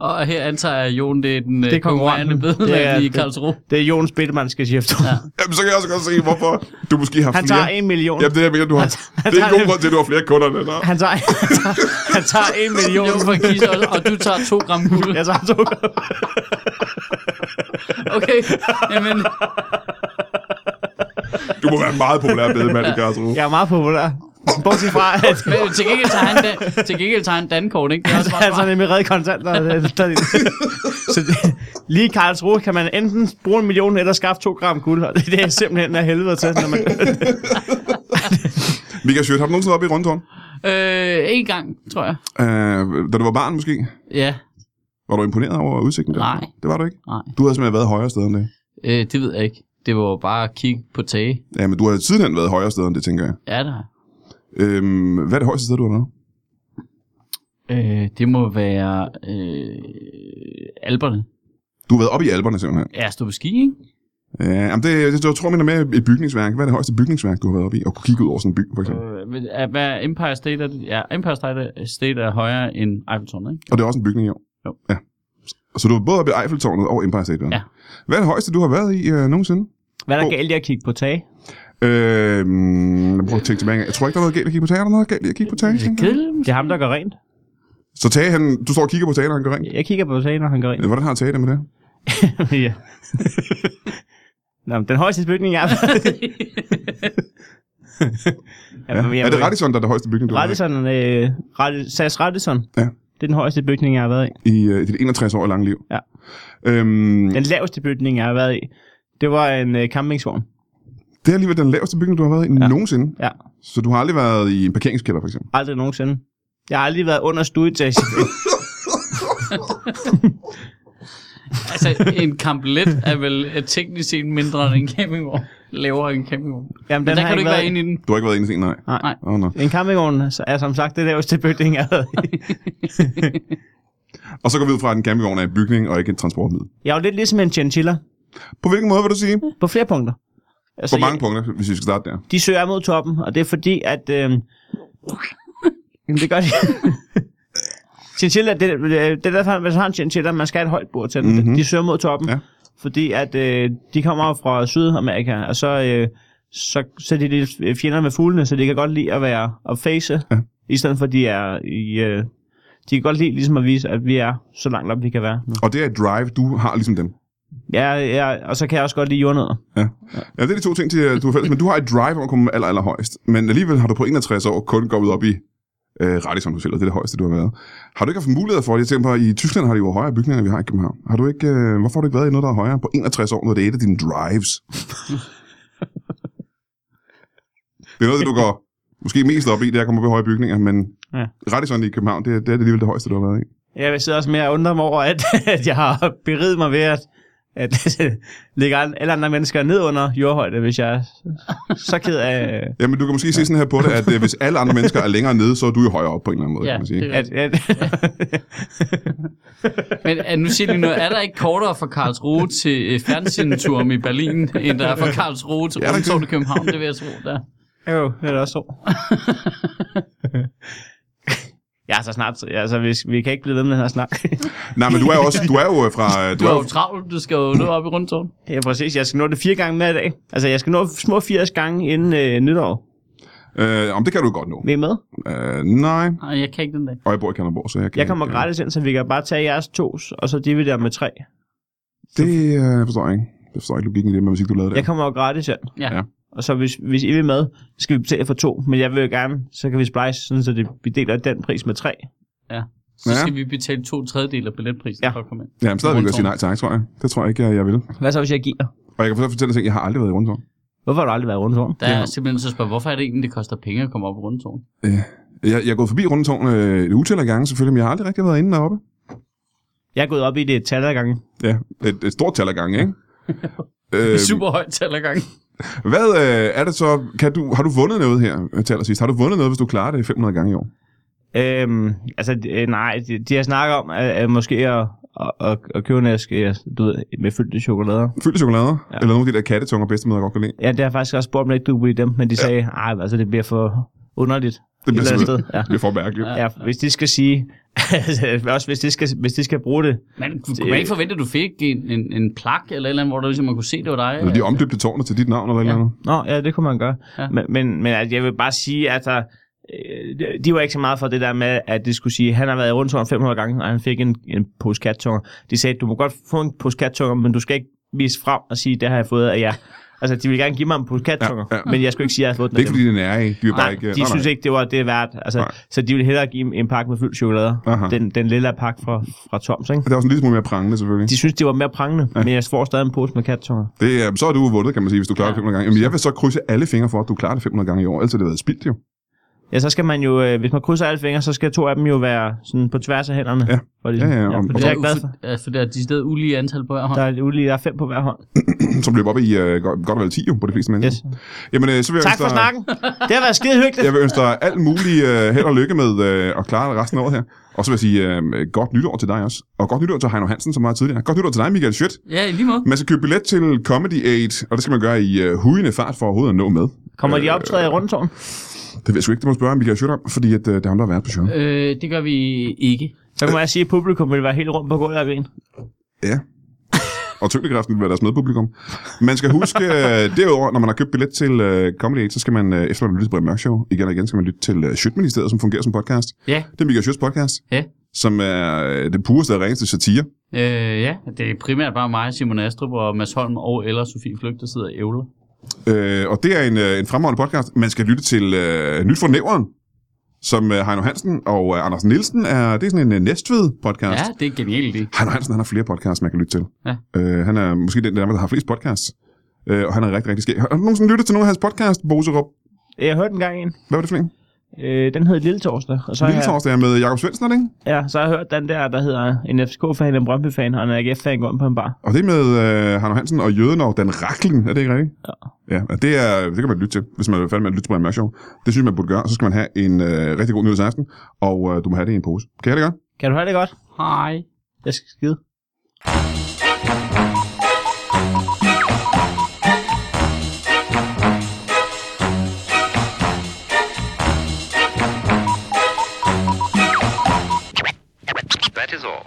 S2: Og her antager jeg, at Jon, det er den det
S3: Det er
S2: konkurrerende
S3: konkurrenten. Det er-
S2: bedelag i
S3: det-
S2: Karlsruhe.
S3: Det er Jons Bittemann, skal sige efter. Ja.
S1: Jamen, så kan jeg også godt se, hvorfor du måske har
S3: Han
S1: flere...
S3: tager en million.
S1: Jamen, det er jeg mener, du har...
S3: han
S1: Det er
S3: tager
S1: en god
S3: en-
S1: grund til, at du har flere kunder, end der.
S3: Han tager, han tager, han tager en million.
S2: Jo, for Kis, og, og du tager to gram guld.
S3: Jeg tager to
S2: Okay, jamen,
S1: Du må være en meget populær bedemand i Karlsruhe.
S3: Jeg er meget populær. Bortset fra, at
S2: men til gengæld tager han, da, til gengæld tager han dankort, ikke? Det er også
S3: altså,
S2: bare,
S3: altså nemlig redde kontanter. Det- der- Så det- lige i Karlsruhe kan man enten bruge en million eller skaffe to gram guld, og det, det er simpelthen af helvede til. Når man,
S1: Mika Schødt, har du nogensinde været oppe i rundtårn?
S2: Øh, en gang, tror jeg.
S1: Øh, da du var barn, måske?
S2: Ja,
S1: Var du imponeret over udsigten der?
S2: Nej.
S1: Det var du ikke?
S2: Nej.
S1: Du havde simpelthen været højere sted end det.
S2: øh, det ved jeg ikke. Det var jo bare at kigge på tage.
S1: Ja, men du har sidenhen været højere sted end det, tænker jeg.
S2: Ja, der.
S1: Øhm, hvad er det højeste sted, du har været?
S2: Øh, det må være øh, alberne.
S1: Du har været oppe i alberne, simpelthen.
S2: Ja, stå på ski, ikke?
S1: Ja, jamen det, det, jeg tror, jeg mener med et bygningsværk. Hvad er det højeste bygningsværk, du har været oppe i? Og kunne kigge ud over sådan en by, for eksempel.
S2: Øh, men er- hvad er Empire State er, ja, Empire State- State er højere end Eiffeltårnet, ikke?
S1: Og det er også en bygning i år.
S2: Jo.
S1: Ja. Så du var både oppe i Eiffeltårnet og Empire State Building.
S2: Ja.
S1: Hvad er det højeste, du har været i øh, nogensinde?
S3: hvad er der galt i at kigge på tag?
S1: Øh, jeg prøver at tænke tilbage. Jeg tror ikke, der er noget galt at kigge på tager. Er der noget galt i at kigge på tager?
S2: Det er kedeligt.
S3: Det er ham, der gør rent.
S1: Så Tage, han, du står og kigger på tager, når han går rent.
S3: Jeg kigger på tag, når han gør rent.
S1: Hvordan har Tage det med det?
S3: ja. Nå, men den højeste bygning, jeg har
S1: Ja. er det Radisson, der er det højeste bygning, du har været
S3: Radisson, øh, Radi- SAS Radisson.
S1: Ja.
S3: Det er den højeste bygning, jeg har været i.
S1: i, i øh, dit 61 år lange liv?
S3: Ja.
S1: Øhm,
S3: Den laveste bygning, jeg har været i, det var en øh, campingsvogn.
S1: det er alligevel den laveste bygning, du har været i ja. nogensinde.
S3: Ja.
S1: Så du har aldrig været i en parkeringskælder, for eksempel.
S3: Aldrig nogensinde. Jeg har aldrig været under studietagen.
S2: altså, en kamplet er vel øh, teknisk set mindre end en campingvogn. Lavere end en campingvogn. Men
S3: Jamen,
S2: der
S3: har
S2: kan
S3: jeg
S2: du ikke være inde i den.
S1: Du har ikke været inde i en, nej.
S3: Nej.
S2: Nej.
S1: Åh, oh, no.
S3: En campingvogn så er som sagt det laveste bygning, jeg har været i.
S1: Og så går vi ud fra, at en campingvogn er en bygning og ikke et transportmiddel.
S3: Jeg er jo lidt ligesom en chinchilla.
S1: På hvilken måde vil du sige?
S3: På flere punkter. Altså,
S1: På mange punkter, hvis vi skal starte der.
S3: Jeg, de søger mod toppen, og det er fordi, at... Øh, jamen, det gør de. chinchilla, det, øh, det er derfor, hvis man har en chinchilla, man skal have et højt bord til den.
S1: Mhm.
S3: Mm-hmm. De søger mod toppen.
S1: Ja.
S3: Fordi at øh, de kommer fra Sydamerika, og så, øh, så, så er de lidt fjender med fuglene, så de kan godt lide at være og face,
S1: Ja.
S3: ja. i stedet for at de er i... Øh, de kan godt lide ligesom at vise, at vi er så langt op, vi kan være.
S1: Og det er et drive, du har ligesom dem.
S3: Ja, ja, og så kan jeg også godt lide jordnødder.
S1: Ja, det er de to ting, til, øh, du har fælles. Men du har et drive om at komme aller, aller højst. Men alligevel har du på 61 år kun gået op i øh, Radisson Hotellet. Det er det højeste, du har været. Har du ikke haft mulighed for det? Jeg tænker på, i Tyskland har de jo højere bygninger, end vi har i København. Har du ikke, øh, hvorfor har du ikke været i noget, der er højere på 61 år, når det er et af dine drives? det er noget, det du går måske mest op i, det er at komme op i høje bygninger, men ja.
S3: Ja.
S1: Radisson i København, det, er- det er alligevel det højeste, du har været i.
S3: Jeg vil sidde også mere og undre mig over, at, at jeg har beriget mig ved, at, at ligge alle andre mennesker ned under jordhøjde, hvis jeg er så ked af... øh,
S1: Jamen, du kan måske se sådan her på det, at øh, hvis alle andre mennesker er længere nede, så er du jo højere op på en eller anden måde,
S2: Ja,
S1: kan man sige.
S2: det er
S3: At, at,
S2: Men er, nu siger de noget, er der ikke kortere fra Karlsruhe til øh, fjernsynsturen i Berlin, end der er fra Karlsruhe til
S1: Ja, der er
S2: Rundtårn i København? Det vil jeg tro, der.
S3: jo, det er da også så. Jeg er så snart... Altså, vi, vi kan ikke blive ved med den her snak.
S1: Nej, men du er jo også, du er jo fra, øh, du
S2: Du
S1: er
S2: har
S1: jo
S2: jo travlt, du skal jo nå op i Rundtårn.
S3: Ja, præcis. Jeg skal nå det fire gange med i dag. Altså, jeg skal nå små 80 gange inden øh, nytår.
S1: Øh, om det kan du godt nå.
S3: Vi er med.
S1: Øh, nej.
S2: Nej, jeg kan ikke den dag.
S1: Og jeg bor i Kalundborg, så jeg kan
S3: Jeg kommer
S1: ikke, øh,
S3: gratis ind, så vi kan bare tage jeres tos, og så dividere med tre.
S1: Det øh, forstår jeg ikke. Jeg forstår ikke logikken i det med musik, du lavede der.
S3: Jeg kommer jo gratis ind.
S2: Ja.
S1: Ja.
S3: Og så hvis, hvis I vil med, så skal vi betale for to. Men jeg vil jo gerne, så kan vi splice, sådan, så det, vi deler den pris med tre.
S2: Ja. Så
S1: Ja.
S2: skal vi betale to tredjedel af billetprisen
S3: Ja.
S2: for at komme ind.
S1: Jamen, stadigvæk vil jeg sige nej tak, tror jeg. Det tror jeg ikke, jeg, jeg vil.
S3: Hvad så, hvis jeg giver?
S1: Og jeg kan så fortælle dig ting, jeg har aldrig været i rundtårn.
S3: Hvorfor har du aldrig været rundt om?
S2: Der er simpelthen så spørger, hvorfor er det egentlig, det koster penge at komme op på rundtårn?
S1: Jeg, jeg er gået forbi rundtårn øh, et utal af gange, selvfølgelig, men jeg har aldrig rigtig været inde deroppe.
S3: Jeg er gået op i det et tal ad gangen.
S1: Ja, et, et stort tal af gange, ikke? øh,
S2: Super højt tallergang.
S1: hvad øh, er det så? Kan du, har du vundet noget her øh, til allersidst? Har du vundet noget, hvis du klarer det 500 gange i år?
S3: Øhm, altså, d- øh, nej, de, de har snakket om, at, at måske at, at, at, at købe en æske, ja, du ved, med fyldte chokolader.
S1: Fyldte chokolader? Ja.
S3: Ja.
S1: Eller nogle af de der kattetunger bedstemøder godt kan lide?
S3: Ja, det har jeg faktisk også spurgt, om ikke du ville dem, men de sagde, nej, altså, det bliver for underligt.
S1: Det bliver
S3: Et eller andet
S1: simpelthen-
S3: sted, ja.
S1: Det er for mærkeligt. Ja.
S3: Ja, hvis de skal sige, altså, også hvis de skal, hvis de skal bruge det.
S2: Men kunne man ikke forvente, at du fik en, en, en plak eller et eller andet, hvor du ligesom man kunne se, det var dig?
S1: Eller de omdøbte tårnet til dit navn eller et eller andet.
S3: Nå, ja, det kunne man gøre.
S2: Ja.
S3: Ja. Men, men, men altså, jeg vil bare sige, at der, øh, de var ikke så meget for det der med, at det skulle sige, han har været i rundtårn 500 gange, og han fik en, en pose kattunger. De sagde, du må godt få en pose kattunger, men du skal ikke vise frem og sige, det har jeg fået af jer. Altså, de ville gerne give mig en pose kattunger,
S1: Ja,
S3: ja,
S1: ja.
S3: ja. men jeg skulle ikke sige, at jeg har fået
S1: Det
S3: den
S1: er
S3: af
S1: ikke, fordi det er nære
S3: dem.
S1: i. De vil bare
S3: Nej,
S1: ikke...
S3: de synes ikke, det var det er værd. Altså,
S1: Nej.
S3: så de ville hellere give en pakke med fyldt chokolade.
S1: Aha.
S3: Den, den lille pakke fra, fra Toms, ikke?
S1: Det er også en lille smule mere prangende, selvfølgelig.
S3: De synes, det var mere prangende, ja. men jeg får stadig en pose med kattunger.
S1: Det, er- så er du vundet, kan man sige, hvis du klarer det 500 gange. Jamen, jeg vil så krydse alle fingre for, at du klarer det 500 gange i år. Ellers har det været spildt, jo.
S3: Ja, så skal man jo, øh, hvis man krydser alle fingre, så skal to af dem jo være sådan på tværs af hænderne.
S1: Ja.
S3: For det,
S1: Ja, ja,
S3: ja
S1: om-
S3: for det er altså. jeg glad for.
S2: Ja, for der er de steder ulige antal på hver hånd.
S3: Der er, ulige, der er fem på hver hånd.
S1: Mm. Som løber op i øh, godt, godt og vel 10 jo, på de fleste mennesker.
S3: Yes.
S1: Jamen, øh, så vil jeg
S3: Tak
S1: ønske
S3: for
S1: dig-
S3: snakken. Det har været skide hyggeligt.
S1: Jeg vil ønske dig alt muligt øh, held og lykke med øh, at klare det resten af året her. Og så vil jeg sige øh, godt nytår til dig også. Og godt nytår til Heino Hansen, som var her tidligere. Godt nytår til dig, Michael Schødt.
S2: Ja, i lige måde.
S1: Man skal købe billet til Comedy Aid, og det skal man gøre i øh, hujende fart for overhovedet at nå med.
S3: Kommer
S1: øh,
S3: de optræde i rundtårn?
S1: Det ved jeg sgu ikke, det må du spørge Michael Schødt om, fordi at, øh, det er ham, der har været på show.
S2: Øh, det gør vi ikke.
S3: Så kan man også sige, at publikum vil være helt rundt på gulvet af grin.
S1: Ja. Og tyngdekraften vil være deres medpublikum. Man skal huske, øh, derudover, når man har købt billet til øh, Comedy Aid, så skal man, øh, efter man har lyttet til Brian Mørk Show, igen og igen skal man lytte til øh, Schødt-ministeriet, som fungerer som podcast.
S2: Ja,
S1: Det er Michael Schødts podcast,
S2: Ja.
S1: som er øh, det pureste og reneste satire.
S2: øh, ja. det er primært bare mig, Simon Astrup og Mads Holm og eller Sofie Flygt, der sidder og ævler.
S1: Øh, og det er en, øh, en fremragende podcast. Man skal lytte til øh, Nyt for Nævren, som øh, Heino Hansen og øh, Anders Nielsen er. Det er sådan en øh, næstved podcast.
S2: Ja,
S1: Ja.
S2: det er genialt det.
S1: Heino Hansen han har flere podcasts, man kan lytte til.
S2: Ja.
S1: Øh, han er måske den, der har flest podcasts. Øh, og han er rigtig, rigtig skæg. Har har du nogensinde lyttet til nogen af hans podcast, Boserup?
S3: Jeg hørte en gang en.
S1: Hvad var det for en?
S3: Øh, den hed Lille Torsdag. Og så har
S1: Lille
S3: jeg-
S1: Torsdag er med Jakob Svendsen, er det ikke?
S3: Ja, så har jeg hørt den der, der hedder en FCK-fan, en Brøndby-fan og en AGF-fan går ind på en bar.
S1: Og det er med øh, Heino Hansen og Jøden og Dan Raklen, er det ikke rigtigt?
S3: Ja.
S1: ja og det, er, det kan man lytte til, hvis man er færdig med at lytte til Brian Mørk Show. Det synes jeg, man burde gøre. Så skal man have en øh, rigtig god nyhedsaften, og øh, du må have det i en pose. Kan jeg det godt?
S3: Kan du have det godt?
S2: Hej.
S3: Jeg skal skide.
S4: That is all.